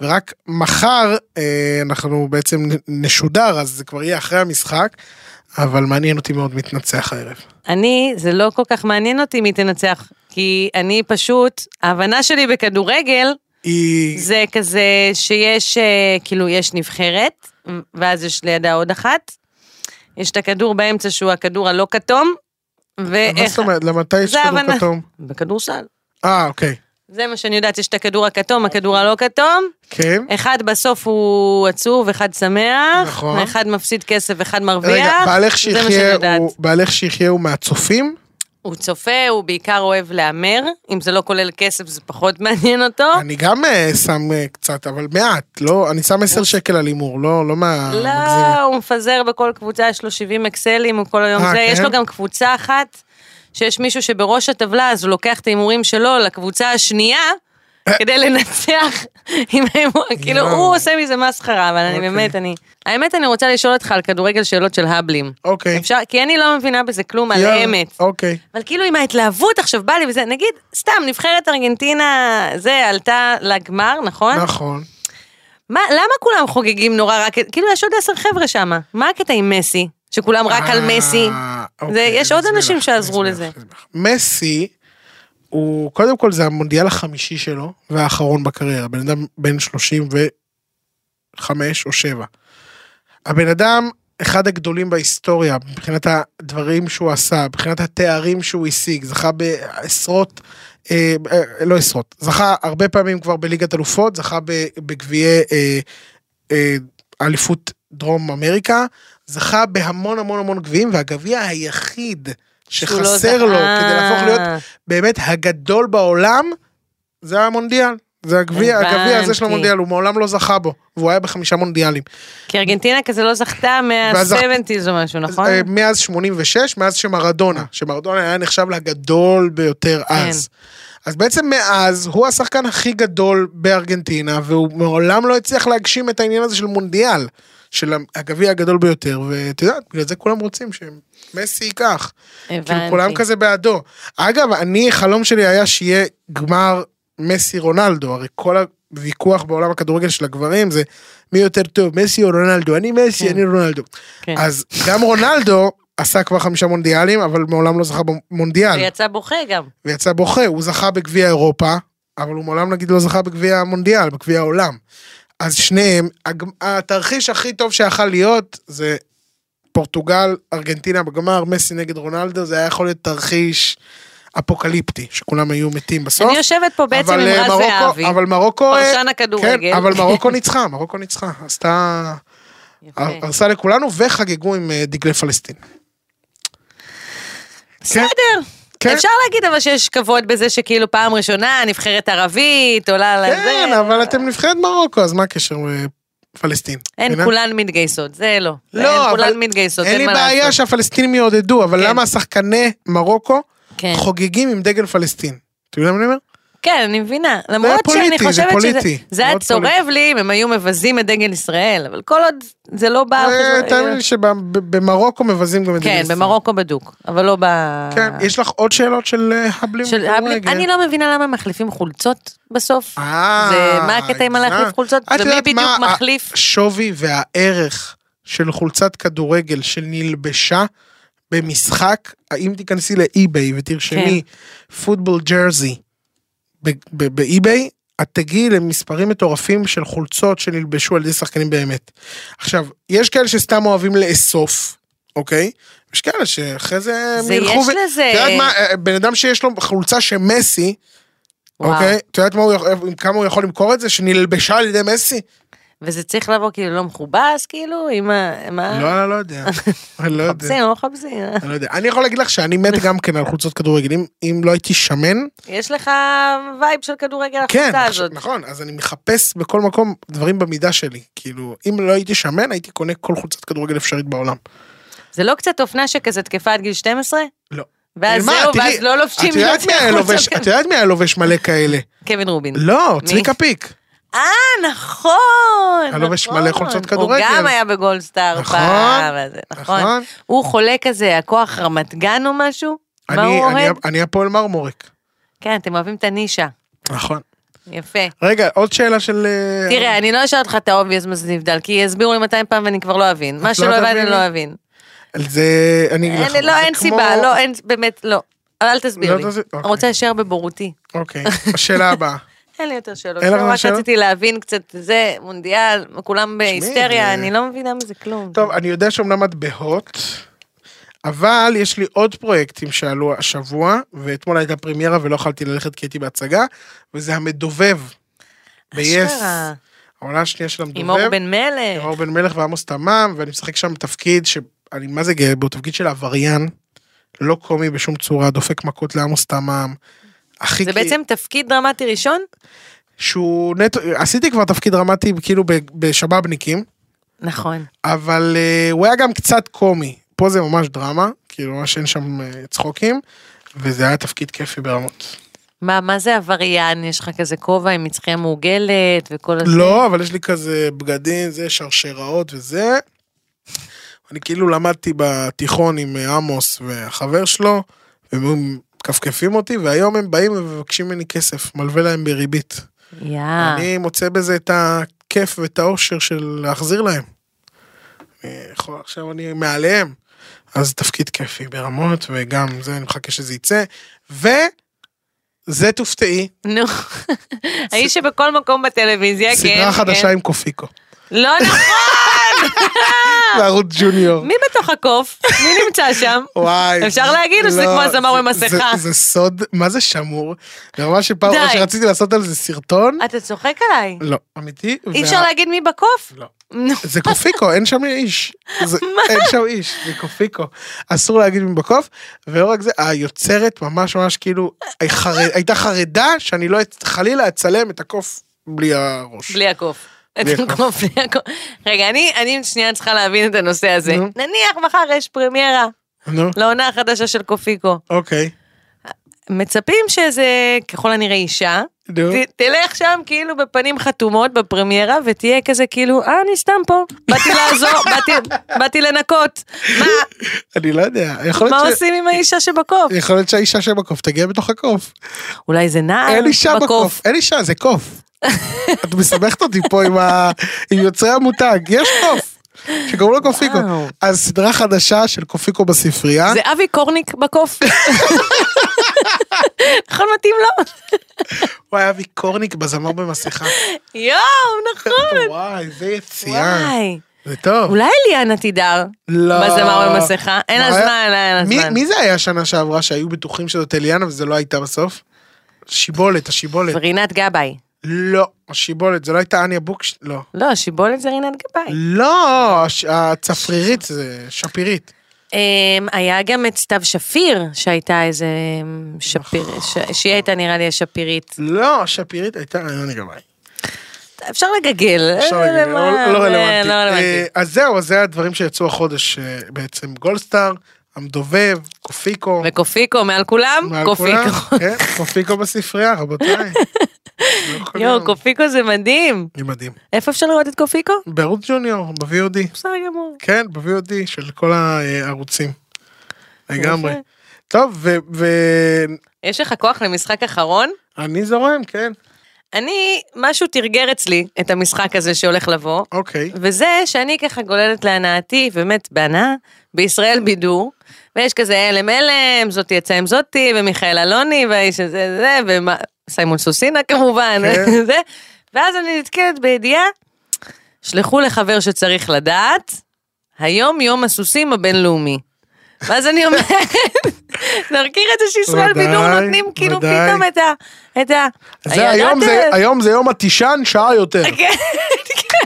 Speaker 2: ורק מחר אה, אנחנו בעצם נ- נשודר, אז זה כבר יהיה אחרי המשחק, אבל מעניין אותי מאוד מתנצח הערב.
Speaker 3: אני, זה לא כל כך מעניין אותי מי תנצח, כי אני פשוט, ההבנה שלי בכדורגל,
Speaker 2: היא...
Speaker 3: זה כזה שיש, אה, כאילו, יש נבחרת, ואז יש לידה עוד אחת. יש את הכדור באמצע שהוא הכדור הלא כתום,
Speaker 2: מה זאת
Speaker 3: ואיך...
Speaker 2: אומרת? למתי יש
Speaker 3: זה
Speaker 2: כדור
Speaker 3: הבנה.
Speaker 2: כתום?
Speaker 3: בכדורסל.
Speaker 2: אה, אוקיי.
Speaker 3: זה מה שאני יודעת, יש את הכדור הכתום, הכדור הלא כתום.
Speaker 2: כן.
Speaker 3: אחד בסוף הוא עצוב, אחד שמח.
Speaker 2: נכון.
Speaker 3: אחד מפסיד כסף, אחד מרוויח.
Speaker 2: רגע, בעלך
Speaker 3: זה מה שאני
Speaker 2: שיחיה
Speaker 3: יודעת.
Speaker 2: הוא- בעלך שיחיה הוא מהצופים?
Speaker 3: הוא צופה, הוא בעיקר אוהב להמר. אם זה לא כולל כסף, זה פחות מעניין אותו.
Speaker 2: אני גם אה, שם אה, קצת, אבל מעט, לא, אני שם 10 שקל על הימור, לא, לא מהמגזים.
Speaker 3: אוקיי. לא, הוא מפזר בכל קבוצה, יש לו 70 אקסלים, הוא כל היום
Speaker 2: אה,
Speaker 3: זה. יש
Speaker 2: כן?
Speaker 3: לו גם קבוצה אחת, שיש מישהו שבראש הטבלה, אז הוא לוקח את ההימורים שלו לקבוצה השנייה. כדי לנצח עם ההימור, כאילו
Speaker 2: אה. יואו.
Speaker 3: הוא עושה מזה מסחרה, אבל אני
Speaker 2: אוקיי.
Speaker 3: באמת, אני... האמת, אני רוצה לשאול אותך על כדורגל שאלות של הבלים.
Speaker 2: אוקיי.
Speaker 3: אפשר, כי אני לא מבינה בזה כלום על
Speaker 2: יאללה,
Speaker 3: אמת.
Speaker 2: אוקיי.
Speaker 3: אבל כאילו עם ההתלהבות עכשיו בא לי וזה, נגיד, סתם, נבחרת ארגנטינה, זה, עלתה לגמר, נכון?
Speaker 2: נכון.
Speaker 3: מה, למה כולם חוגגים נורא רק, כאילו יש עוד עשר חבר'ה שם, מה הקטע עם מסי? שכולם רק על
Speaker 2: אה,
Speaker 3: מסי?
Speaker 2: אוקיי,
Speaker 3: זה, יש
Speaker 2: אני
Speaker 3: עוד
Speaker 2: אסביר
Speaker 3: אנשים
Speaker 2: לך,
Speaker 3: שעזרו
Speaker 2: אני אסביר
Speaker 3: לזה.
Speaker 2: לך, אני אסביר לך. מסי, הוא, קודם כל זה המונדיאל החמישי שלו, והאחרון בקריירה, בן אדם בן 35 או 7. הבן אדם, אחד הגדולים בהיסטוריה, מבחינת הדברים שהוא עשה, מבחינת התארים שהוא השיג, זכה בעשרות, אה, אה, לא עשרות, זכה הרבה פעמים כבר בליגת אלופות, זכה ב- בגביעי אה, אה, אליפות דרום אמריקה, זכה בהמון המון המון גביעים, והגביע היחיד
Speaker 3: שהוא לא
Speaker 2: שחסר
Speaker 3: זה-
Speaker 2: לו
Speaker 3: אה,
Speaker 2: כדי להפוך להיות באמת הגדול בעולם, זה המונדיאל. זה הגביע, הגביע הזה
Speaker 3: הבנתי.
Speaker 2: של המונדיאל, הוא מעולם לא זכה בו, והוא היה בחמישה מונדיאלים.
Speaker 3: כי ארגנטינה כזה לא זכתה
Speaker 2: ואז זכ-
Speaker 3: מה-70's או משהו, נכון? כן.
Speaker 2: אה, מאז 86, מאז שמרדונה, שמרדונה היה נחשב לגדול ביותר אז. אז בעצם מאז הוא השחקן הכי גדול בארגנטינה, והוא מעולם לא הצליח להגשים את העניין הזה של מונדיאל, של הגביע הגדול ביותר, ואת יודעת, בגלל זה כולם רוצים שמסי ייקח. כאילו כולם כזה בעדו. אגב, אני, חלום שלי היה שיהיה גמר מסי רונלדו, הרי כל הוויכוח בעולם הכדורגל של הגברים זה מי יותר טוב, מסי או רונלדו, אני מסי,
Speaker 3: כן.
Speaker 2: אני רונלדו.
Speaker 3: כן.
Speaker 2: אז גם רונלדו עשה כבר חמישה מונדיאלים, אבל מעולם לא זכה במונדיאל,
Speaker 3: ויצא בוכה גם.
Speaker 2: ויצא בוכה, הוא זכה בגביע אירופה, אבל הוא מעולם נגיד לא זכה בגביע המונדיאל, בגביע העולם. אז שניהם, הג- התרחיש הכי טוב שיכל להיות זה פורטוגל, ארגנטינה בגמר, מסי נגד רונלדו, זה היה יכול להיות תרחיש אפוקליפטי, שכולם היו מתים בסוף.
Speaker 3: אני יושבת פה בעצם עם
Speaker 2: אבל, אה,
Speaker 3: רז
Speaker 2: מרוקו-
Speaker 3: זהבי.
Speaker 2: אבל מרוקו... אה,
Speaker 3: פרשן הכדורגל.
Speaker 2: כן, אבל מרוקו אה, ניצחה, מרוקו ניצחה. עשתה...
Speaker 3: יפה.
Speaker 2: הר- הרסה לכולנו וחגגו עם אה, דגלי פלסטין. כן,
Speaker 3: בסדר.
Speaker 2: כן.
Speaker 3: אפשר להגיד אבל שיש כבוד בזה שכאילו פעם ראשונה נבחרת ערבית עולה על זה.
Speaker 2: כן, אבל אתם נבחרת מרוקו, אז מה הקשר אה, פלסטין?
Speaker 3: אין,
Speaker 2: מבינה?
Speaker 3: כולן מתגייסות, זה לא. אין, כולן מתגייסות,
Speaker 2: אין
Speaker 3: אין
Speaker 2: לי
Speaker 3: מה
Speaker 2: בעיה
Speaker 3: לעשות.
Speaker 2: שהפלסטינים יעודדו, אבל
Speaker 3: כן.
Speaker 2: למה השחקני מרוקו
Speaker 3: כן.
Speaker 2: חוגגים עם דגל פלסטין? אתם יודעים מה אני אומר?
Speaker 3: כן, אני מבינה. למרות שאני
Speaker 2: פוליטי, זה
Speaker 3: חושבת שזה...
Speaker 2: פוליטי.
Speaker 3: זה היה
Speaker 2: מאוד
Speaker 3: צורב לי אם הם היו מבזים את דגל ישראל, אבל כל עוד זה לא בא... על
Speaker 2: אה,
Speaker 3: חשבון-
Speaker 2: תאמין לי שבמרוקו מבזים גם את דגל
Speaker 3: כן,
Speaker 2: ישראל.
Speaker 3: במרוקו בדוק, אבל לא ב...
Speaker 2: כן, יש לך עוד שאלות של אה, הבלים?
Speaker 3: של
Speaker 2: כדורגל?
Speaker 3: האבלים- אני לא מבינה למה הם מחליפים חולצות בסוף.
Speaker 2: אה,
Speaker 3: זה- מה הקטע עם
Speaker 2: הגזמת.
Speaker 3: הלהחליף חולצות?
Speaker 2: את
Speaker 3: ומי
Speaker 2: יודעת
Speaker 3: בדיוק
Speaker 2: מה אה,
Speaker 3: מחליף?
Speaker 2: השווי והערך של חולצת כדורגל שנלבשה במשחק, אם תיכנסי לאי-ביי ותרשמי
Speaker 3: כן.
Speaker 2: פוטבול ג'רזי ב- ב- באי-ביי, את תגיעי למספרים מטורפים של חולצות שנלבשו על ידי שחקנים באמת. עכשיו, יש כאלה שסתם אוהבים לאסוף, אוקיי? יש כאלה שאחרי זה... הם
Speaker 3: זה
Speaker 2: ילכו
Speaker 3: יש לזה.
Speaker 2: את יודעת מה, אה, בן אדם שיש לו חולצה שמסי,
Speaker 3: וואו.
Speaker 2: אוקיי? את יודעת מה הוא יכול- עם כמה הוא יכול למכור את זה? שנלבשה על ידי מסי?
Speaker 3: וזה צריך לבוא כאילו לא מכובס, כאילו, עם ה... מה?
Speaker 2: לא, אני לא יודע. אני לא יודע.
Speaker 3: מחפשים, לא מחפשים.
Speaker 2: אני לא יודע. אני יכול להגיד לך שאני מת גם כן על חולצות כדורגל. אם- אם לא הייתי שמן,
Speaker 3: יש לך וייב של כדורגל
Speaker 2: כן,
Speaker 3: החוצה
Speaker 2: עכשיו-
Speaker 3: הזאת.
Speaker 2: נכון, אז אני מחפש בכל מקום דברים במידה שלי. כאילו, אם לא הייתי שמן, הייתי קונה כל חולצת כדורגל אפשרית בעולם.
Speaker 3: זה לא קצת אופנה שכזה תקפה עד גיל 12?
Speaker 2: לא.
Speaker 3: ואז
Speaker 2: מה,
Speaker 3: זהו,
Speaker 2: תראי,
Speaker 3: ואז לא לובשים
Speaker 2: את יודעת
Speaker 3: יותר
Speaker 2: מי היה
Speaker 3: חולצות
Speaker 2: לובש-
Speaker 3: כאלה.
Speaker 2: את יודעת מי היה לובש מלא כאלה?
Speaker 3: קווין רובין.
Speaker 2: לא,
Speaker 3: מי?
Speaker 2: צביקה פיק.
Speaker 3: אה, נכון.
Speaker 2: היה לובש
Speaker 3: נכון.
Speaker 2: מלא חולצות
Speaker 3: הוא
Speaker 2: כדורגל.
Speaker 3: גם היה בגולדסטאר
Speaker 2: נכון,
Speaker 3: פעם. אז- נכון.
Speaker 2: נכון.
Speaker 3: הוא חולה כזה, הכוח רמת גן או משהו? מה
Speaker 2: אני-
Speaker 3: הוא
Speaker 2: אני-
Speaker 3: אוהד?
Speaker 2: אני הפועל מרמורק.
Speaker 3: כן, אתם אוהבים את הנישה.
Speaker 2: נכון.
Speaker 3: יפה.
Speaker 2: רגע, עוד שאלה של... אה,
Speaker 3: תראה, אני לא אשאל אותך את האובייס מה זה נבדל, כי יסבירו לי 200 פעם ואני כבר לא אבין. מה
Speaker 2: לא
Speaker 3: שלא הבנתי,
Speaker 2: תביני?
Speaker 3: אני לא אבין.
Speaker 2: על זה אני אגיד לך.
Speaker 3: אין- לא,
Speaker 2: זה
Speaker 3: אין
Speaker 2: כמו-
Speaker 3: סיבה, לא, אין, באמת, לא. אבל אל תסביר
Speaker 2: לא
Speaker 3: לי.
Speaker 2: תסביר,
Speaker 3: אני
Speaker 2: אוקיי.
Speaker 3: רוצה להישאר בבורותי.
Speaker 2: אוקיי, השאלה הבאה.
Speaker 3: אין לי יותר שאלות.
Speaker 2: אין לך
Speaker 3: לא,
Speaker 2: יותר
Speaker 3: רק
Speaker 2: שאלות?
Speaker 3: רציתי להבין קצת זה, מונדיאל, כולם בהיסטריה,
Speaker 2: זה-
Speaker 3: אני לא מבינה מזה כלום.
Speaker 2: טוב, אני יודע שאומנם את בהוט, אבל יש לי עוד פרויקטים שעלו השבוע, ואתמול הייתה פרמיירה ולא יכולתי ללכת כי הייתי בהצגה, וזה המדובב. ב-yes.
Speaker 3: אשכרה.
Speaker 2: העונה השנייה של המדובב.
Speaker 3: עם אור בן מלך.
Speaker 2: עם אור בן מלך ועמוס תמם, ואני משחק שם תפקיד שאני מה זה גאה בו, תפקיד של עבריין, לא קומי בשום צורה, דופק מכות לעמוס תמם. הכי
Speaker 3: זה
Speaker 2: כאילו-
Speaker 3: בעצם תפקיד דרמטי ראשון?
Speaker 2: שהוא נטו, עשיתי כבר תפקיד דרמטי כאילו ב- בשבאבניקים,
Speaker 3: נכון.
Speaker 2: אבל אה, הוא היה גם קצת קומי. פה זה ממש דרמה, כאילו ממש אין שם אה, צחוקים, וזה היה תפקיד כיפי ברמות.
Speaker 3: מה, מה זה עבריין? יש לך כזה כובע עם מצחייה מעוגלת וכל הזה?
Speaker 2: לא, אבל יש לי כזה בגדים, זה שרשראות וזה. אני כאילו למדתי בתיכון עם אה, עמוס והחבר שלו, והם היו מכפכפים אותי, והיום הם באים ומבקשים ממני כסף, מלווה להם בריבית.
Speaker 3: יאה.
Speaker 2: אני מוצא בזה את הכיף ואת האושר של להחזיר להם. אני יכול, עכשיו אני מעליהם. אז תפקיד כיפי ברמות, וגם זה, אני מחכה שזה יצא. וזה תופתעי,
Speaker 3: נו. האיש שבכל מקום בטלוויזיה, כן.
Speaker 2: סדרה חדשה עם קופיקו.
Speaker 3: כן. לא נכון!
Speaker 2: בערוץ ג'וניור.
Speaker 3: מי בתוך הקוף? מי נמצא שם?
Speaker 2: וואי.
Speaker 3: אפשר
Speaker 2: זה-
Speaker 3: להגיד או שזה
Speaker 2: לא,
Speaker 3: כמו הזמר
Speaker 2: זה-
Speaker 3: במסכה?
Speaker 2: זה- זה סוד, מה זה שמור? ממש שפעם
Speaker 3: די.
Speaker 2: אחת שרציתי לעשות על זה סרטון.
Speaker 3: אתה צוחק עליי.
Speaker 2: לא, אמיתי.
Speaker 3: אי
Speaker 2: וה-
Speaker 3: אפשר להגיד מי בקוף?
Speaker 2: לא.
Speaker 3: נו.
Speaker 2: זה קופיקו, אין שם איש. זה, אין שם איש, זה קופיקו. אסור להגיד מבקוף, ולא רק זה, היוצרת ממש ממש כאילו, חר... הייתה חרדה שאני לא אצ- חלילה אצלם את הקוף בלי הראש.
Speaker 3: בלי הקוף. את
Speaker 2: בלי הקוף.
Speaker 3: הקוף, בלי הקוף. רגע, אני אני שנייה צריכה להבין את הנושא הזה.
Speaker 2: נו.
Speaker 3: נניח מחר יש פרמיירה
Speaker 2: נו,
Speaker 3: לעונה החדשה של קופיקו.
Speaker 2: אוקיי.
Speaker 3: מצפים שאיזה, ככל הנראה אישה,
Speaker 2: נו.
Speaker 3: ת- תלך שם כאילו בפנים חתומות בפרמיירה ותהיה כזה כאילו, אה, אני סתם פה. באתי לעזור, באתי- באתי לנקות. מה,
Speaker 2: אני לא יודע, יכול
Speaker 3: מה
Speaker 2: להיות, ש...
Speaker 3: עושים עם האישה שבקוף?
Speaker 2: יכול להיות שהאישה שבקוף תגיע בתוך הקוף.
Speaker 3: אולי זה נער
Speaker 2: אין אישה
Speaker 3: אה, בקוף.
Speaker 2: בקוף, אין אישה, זה קוף. את מסבכת אותי פה עם, ה... עם יוצרי המותג, יש קוף. שקראו לו קופיקו.
Speaker 3: וואו.
Speaker 2: אז סדרה חדשה של קופיקו בספרייה.
Speaker 3: זה אבי קורניק בקוף. נכון מתאים לו?
Speaker 2: וואי, אבי קורניק בזמר במסכה.
Speaker 3: יואו, נכון.
Speaker 2: וואי, זה יציאה.
Speaker 3: וואי.
Speaker 2: זה טוב.
Speaker 3: אולי ליאנה תידר.
Speaker 2: לא.
Speaker 3: בזמר במסכה? אין לה
Speaker 2: מה היה-
Speaker 3: זמן, אין לה
Speaker 2: מי-
Speaker 3: זמן.
Speaker 2: מי זה היה שנה שעברה שהיו בטוחים שזאת אליאנה וזה לא הייתה בסוף? שיבולת, השיבולת.
Speaker 3: רינת גבאי.
Speaker 2: לא, השיבולת, זו לא הייתה אניה בוקש... לא.
Speaker 3: לא, שיבולת זה רינת גבאי.
Speaker 2: לא, הש- הצפרירית זה שפירית.
Speaker 3: אמ, היה גם את סתיו שפיר, שהייתה איזה אמ, שפיר,
Speaker 2: נכון.
Speaker 3: ש- שהיא הייתה נראה לי השפירית.
Speaker 2: לא, השפירית הייתה אניה גבאי.
Speaker 3: אפשר לגגל.
Speaker 2: אפשר
Speaker 3: אה,
Speaker 2: להגיד,
Speaker 3: מה-
Speaker 2: לא לא
Speaker 3: זה
Speaker 2: רלוונטי.
Speaker 3: לא רלוונטי.
Speaker 2: אה, אז זהו, אז זה הדברים שיצאו החודש אה, בעצם. גולדסטאר, המדובב, קופיקו.
Speaker 3: וקופיקו מעל כולם?
Speaker 2: מעל כולם.
Speaker 3: קופיקו.
Speaker 2: כן, קופיקו בספרייה, רבותיי. לא יכול
Speaker 3: יואו,
Speaker 2: להיות.
Speaker 3: קופיקו זה מדהים.
Speaker 2: זה מדהים.
Speaker 3: איפה אפשר לראות את קופיקו?
Speaker 2: בערוץ ג'וניור, ב-VOD.
Speaker 3: בסדר גמור.
Speaker 2: כן, ב-VOD של כל הערוצים. לגמרי.
Speaker 3: יפה.
Speaker 2: טוב, ואני
Speaker 3: יש לך כוח למשחק אחרון?
Speaker 2: זורם, כן.
Speaker 3: אני, משהו תרגר אצלי את המשחק הזה שהולך לבוא,
Speaker 2: אוקיי.
Speaker 3: וזה שאני ככה גוללת להנאתי, באמת בהנאה, בישראל בידור, ויש כזה הלם הלם, זאתי יצאה עם זאתי, ומיכאל אלוני, והאיש הזה זה, וסיימון סוסינה כמובן,
Speaker 2: כן.
Speaker 3: זה, ואז אני נתקלת בידיעה, שלחו לחבר שצריך לדעת, היום יום הסוסים הבינלאומי. ואז אני אומרת, נרכיר את זה שישראל
Speaker 2: ודאי,
Speaker 3: בידור נותנים כאילו
Speaker 2: ודאי.
Speaker 3: פתאום את ה... את ה...
Speaker 2: זה היום
Speaker 3: הידעתם?
Speaker 2: זה- היום זה יום התשען, שעה יותר.
Speaker 3: כן,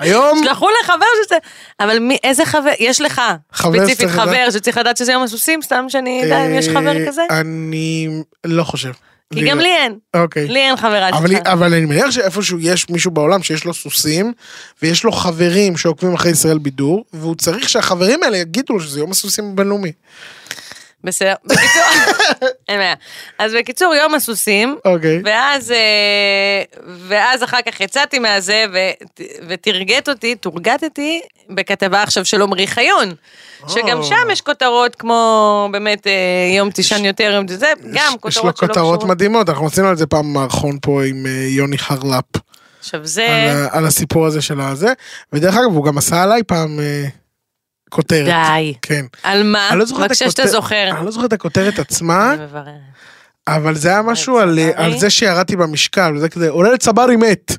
Speaker 2: היום...
Speaker 3: שלחו לחבר שזה, אבל מי, איזה חבר, יש לך,
Speaker 2: חבר
Speaker 3: ספציפית
Speaker 2: שצריך
Speaker 3: חבר שצריך לדעת שזה יום הסוסים, סתם שאני אדע אם יש חבר
Speaker 2: אה,
Speaker 3: כזה,
Speaker 2: אני לא חושב.
Speaker 3: כי גם
Speaker 2: לא.
Speaker 3: לי אין,
Speaker 2: אוקיי.
Speaker 3: לי אין חברה
Speaker 2: אבל,
Speaker 3: שלך.
Speaker 2: אבל אני מניח שאיפשהו יש מישהו בעולם שיש לו סוסים, ויש לו חברים שעוקבים אחרי ישראל בידור, והוא צריך שהחברים האלה יגידו לו שזה יום הסוסים הבינלאומי.
Speaker 3: בסדר, בקיצור, אין בעיה. אז בקיצור, יום הסוסים,
Speaker 2: אוקיי.
Speaker 3: ואז, אה, ואז אחר כך יצאתי מהזה ו- וטרגט אותי, טורגטתי בכתבה עכשיו של עמרי חיון, שגם
Speaker 2: או.
Speaker 3: שם יש כותרות כמו באמת אה, יום תשען יותר, יום זה, גם
Speaker 2: יש לו
Speaker 3: כותרות שלא
Speaker 2: כותרות
Speaker 3: קשורות.
Speaker 2: מדהימות, אנחנו עשינו על זה פעם מערכון פה עם אה, יוני חרלפ,
Speaker 3: עכשיו
Speaker 2: על
Speaker 3: זה...
Speaker 2: ה- על הסיפור הזה של הזה, ודרך אגב הוא גם עשה עליי פעם אה, כותרת.
Speaker 3: די.
Speaker 2: כן.
Speaker 3: על מה?
Speaker 2: אני לא זוכר את אה?
Speaker 3: בבקשה שאתה
Speaker 2: הכותר-
Speaker 3: זוכר.
Speaker 2: אני לא זוכר את הכותרת עצמה,
Speaker 3: אני מבררת.
Speaker 2: אבל זה היה משהו על, אה,
Speaker 3: צברי.
Speaker 2: על זה שירדתי במשקל, זה כזה, עולה לצברי מת.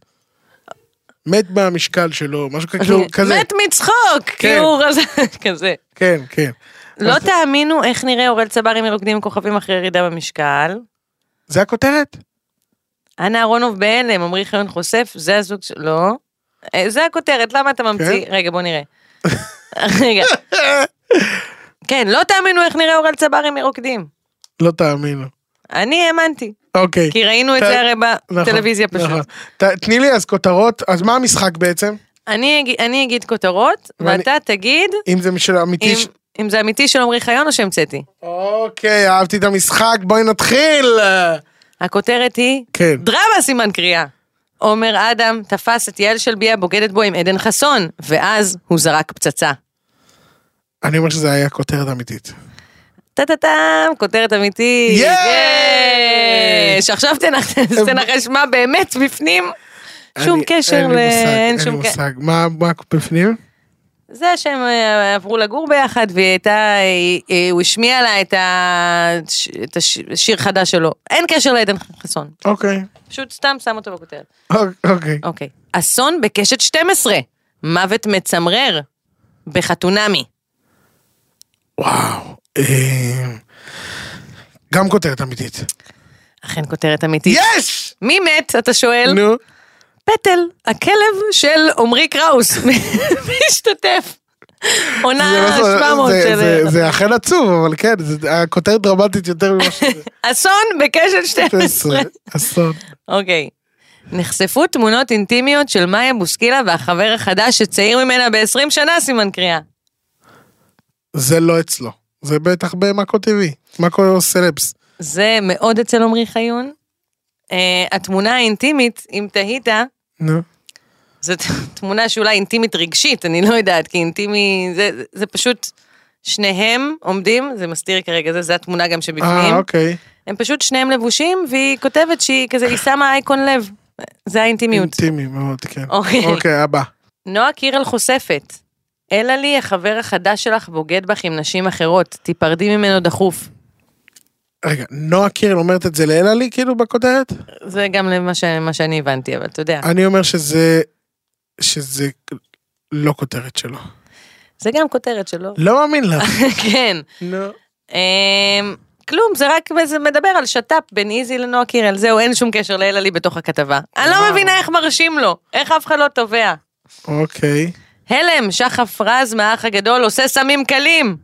Speaker 2: מת מהמשקל שלו, משהו כאילו כזה.
Speaker 3: מת מצחוק! כי הוא רזה, כזה.
Speaker 2: כן, כן.
Speaker 3: לא תאמינו איך נראה אורל צברי מרוקדים עם כוכבים אחרי ירידה במשקל.
Speaker 2: זה הכותרת?
Speaker 3: אנה אהרונוב בהלם, עמרי חיון חושף, זה הזוג של... לא. אה, זה הכותרת, למה אתה ממציא?
Speaker 2: כן?
Speaker 3: רגע, בוא נראה. רגע. כן, לא תאמינו איך נראה אורל צברי מרוקדים.
Speaker 2: לא תאמינו.
Speaker 3: אני האמנתי,
Speaker 2: אוקיי.
Speaker 3: כי ראינו את
Speaker 2: ת-
Speaker 3: זה הרי
Speaker 2: נכון,
Speaker 3: בטלוויזיה
Speaker 2: נכון.
Speaker 3: פשוט.
Speaker 2: ת- תני לי אז כותרות, אז מה המשחק בעצם?
Speaker 3: אני אגיד- אני אגיד כותרות,
Speaker 2: ואני-
Speaker 3: ואתה תגיד
Speaker 2: אם זה של אמיתי...
Speaker 3: אם-
Speaker 2: ש-
Speaker 3: אם זה אמיתי של עמרי חיון או שהמצאתי.
Speaker 2: אוקיי, אהבתי את המשחק, בואי נתחיל.
Speaker 3: הכותרת היא,
Speaker 2: כן.
Speaker 3: דרמה סימן קריאה. עומר אדם תפס את יעל שלבי הבוגדת בו עם עדן חסון, ואז הוא זרק פצצה.
Speaker 2: אני אומר שזה היה כותרת אמיתית.
Speaker 3: טה טה טם, כותרת אמיתית.
Speaker 2: יש!
Speaker 3: יש! עכשיו תנח- תנחש מה באמת בפנים. שום
Speaker 2: אני-
Speaker 3: קשר
Speaker 2: אין
Speaker 3: ל...
Speaker 2: לי מושג, אין לי
Speaker 3: שום ק-
Speaker 2: מושג. מה מה בפנים?
Speaker 3: זה שהם אה, עברו לגור ביחד והיא הייתה, אה, אה, הוא השמיע לה את ה- את השיר חדש שלו. אין קשר לעדן חסון.
Speaker 2: אוקיי.
Speaker 3: פשוט סתם שם אותו בכותרת.
Speaker 2: אוק- אוקיי.
Speaker 3: אוקיי. אסון בקשת 12, מוות מצמרר, בחתונמי.
Speaker 2: וואו. אה, גם כותרת אמיתית.
Speaker 3: אכן כותרת אמיתית.
Speaker 2: יש!
Speaker 3: מי מת, אתה שואל?
Speaker 2: נו.
Speaker 3: פטל, הכלב של עמרי קראוס. מי השתתף? עונה
Speaker 2: זה לא-
Speaker 3: 700
Speaker 2: זה-
Speaker 3: של...
Speaker 2: זה- זה אכן עצוב, אבל כן, זה- הכותרת דרמטית יותר ממה שזה.
Speaker 3: אסון בקשת 12.
Speaker 2: אסון.
Speaker 3: אוקיי. נחשפו תמונות אינטימיות של מאיה בוסקילה והחבר החדש שצעיר ממנה ב-20 שנה, סימן קריאה.
Speaker 2: זה לא אצלו. זה בטח במאקו טבעי. מאקו סלבס.
Speaker 3: זה מאוד אצל עמרי חיון. אה, התמונה האינטימית, אם תהית,
Speaker 2: נו.
Speaker 3: זו ת- תמונה שאולי אינטימית רגשית, אני לא יודעת, כי אינטימי, זה, זה פשוט שניהם עומדים, זה מסתיר כרגע, זה, זה התמונה גם שבפנים.
Speaker 2: אה, אוקיי.
Speaker 3: הם פשוט שניהם לבושים, והיא כותבת שהיא כזה, היא שמה אייקון לב. זה האינטימיות.
Speaker 2: אינטימי מאוד, כן.
Speaker 3: אוקיי.
Speaker 2: אוקיי, הבא.
Speaker 3: נועה קירל חושפת, אלא לי, החבר החדש שלך בוגד בך עם נשים אחרות, תיפרדי ממנו דחוף.
Speaker 2: רגע, נועה קירל אומרת את זה לאלה לי, כאילו, בכותרת?
Speaker 3: זה גם למה ש- מה שאני הבנתי, אבל אתה יודע.
Speaker 2: אני אומר שזה... שזה לא כותרת שלו.
Speaker 3: זה גם כותרת שלו.
Speaker 2: לא מאמין לך.
Speaker 3: כן.
Speaker 2: נו.
Speaker 3: אמ, כלום, זה רק זה מדבר על שת"פ בין איזי לנועה קירל, זהו, אין שום קשר לאלעלי בתוך הכתבה. אני לא
Speaker 2: וואו.
Speaker 3: מבינה איך מרשים לו, איך אף אחד לא תובע.
Speaker 2: אוקיי.
Speaker 3: הלם, שחף רז מהאח הגדול עושה סמים קלים.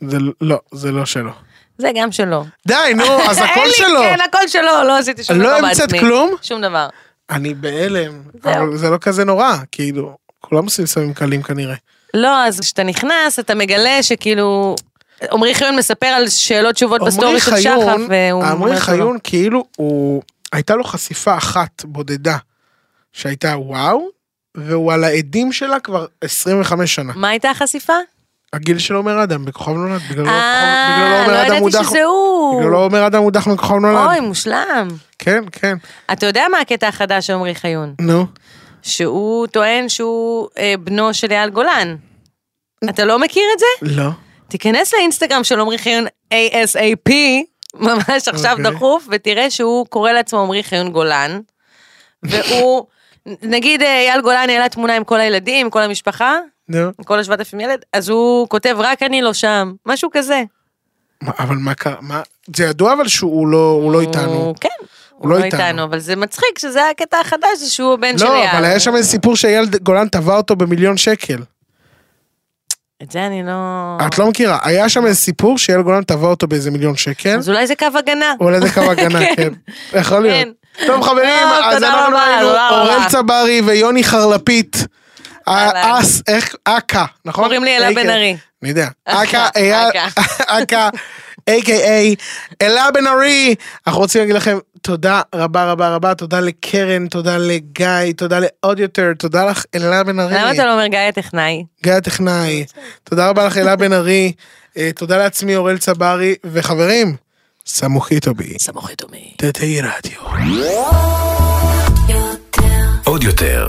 Speaker 2: זה לא, זה לא שלו.
Speaker 3: זה גם שלו.
Speaker 2: די, נו, אז הכל
Speaker 3: אין לי-
Speaker 2: שלו.
Speaker 3: כן, הכל שלו, לא עשיתי שום
Speaker 2: לא
Speaker 3: דבר בעצמי.
Speaker 2: המצאת כלום?
Speaker 3: שום דבר.
Speaker 2: אני בהלם,
Speaker 3: זהו.
Speaker 2: אבל זה לא כזה נורא, כאילו, כולם עושים סמים קלים כנראה.
Speaker 3: לא, אז כשאתה נכנס, אתה מגלה שכאילו... עמרי חיון מספר על שאלות תשובות בסטורי
Speaker 2: עמרי
Speaker 3: של שחף,
Speaker 2: חיון,
Speaker 3: והוא
Speaker 2: עמרי
Speaker 3: אומר לא- שלא.
Speaker 2: חיון כאילו, הוא, הייתה לו חשיפה אחת בודדה, שהייתה וואו, והוא על העדים שלה כבר 25 שנה.
Speaker 3: מה הייתה החשיפה?
Speaker 2: הגיל של עומר אדם, בכוכב נולד, בגללו בגללו
Speaker 3: אה, לא
Speaker 2: עומר אדם
Speaker 3: ידעתי
Speaker 2: הוא דח...
Speaker 3: שזה הוא.
Speaker 2: בגללו עומר אדם הוא דח מכוכב
Speaker 3: אוי,
Speaker 2: נולד.
Speaker 3: מושלם.
Speaker 2: כן, כן,
Speaker 3: אתה יודע מה הקטע החדש של עמרי חיון?
Speaker 2: נו.
Speaker 3: אה? שהוא טוען שהוא אה, בנו של אייל גולן. אתה לא מכיר את זה?
Speaker 2: לא.
Speaker 3: תיכנס לאינסטגרם של עמרי חיון ASAP, ממש עכשיו
Speaker 2: אוקיי.
Speaker 3: דחוף, ותראה שהוא קורא לעצמו עמרי חיון גולן. והוא, נגיד אה, אייל גולן העלה תמונה עם כל הילדים, עם כל המשפחה,
Speaker 2: נו.
Speaker 3: עם כל השבעת אלפים ילד, אז הוא כותב רק אני לא שם, משהו כזה.
Speaker 2: מה- אבל מה קרה? מה- זה ידוע אבל שהוא לא הוא לא איתנו.
Speaker 3: הוא- כן. הוא לא איתנו, אבל זה מצחיק שזה הקטע החדש, זה שהוא הבן של אייל. אה.
Speaker 2: לא, אבל היה שם איזה סיפור שאייל גולן תבע אותו במיליון שקל.
Speaker 3: את זה אני לא...
Speaker 2: את לא מכירה, היה שם איזה סיפור שאייל גולן תבע אותו באיזה מיליון שקל,
Speaker 3: אז אולי זה קו הגנה.
Speaker 2: אולי זה קו הגנה, כן. יכול להיות. טוב חברים,
Speaker 3: טוב,
Speaker 2: אז
Speaker 3: תודה
Speaker 2: אנחנו
Speaker 3: רבה,
Speaker 2: היינו
Speaker 3: תודה רבה.
Speaker 2: אורל צברי ויוני חרלפית.
Speaker 3: אהלן.
Speaker 2: אס, איך, אכה, נכון?
Speaker 3: קוראים לי אלה
Speaker 2: אי-
Speaker 3: בן ארי.
Speaker 2: אני יודע.
Speaker 3: אכה,
Speaker 2: אכה, אייל, אכה, A.K.A. אלה בן ארי. אנחנו רוצים להגיד לכם תודה רבה רבה רבה, תודה לקרן, תודה לגיא, תודה לעוד יותר, תודה לך אלה בן ארי.
Speaker 3: למה אתה לא אומר גיא הטכנאי?
Speaker 2: גיא הטכנאי, תודה רבה לך אלה בן ארי, אה, תודה לעצמי אורל צברי, וחברים, סמוכיטו בי,
Speaker 3: סמוך יתומי.
Speaker 2: תתי רדיו.
Speaker 1: עוד יותר,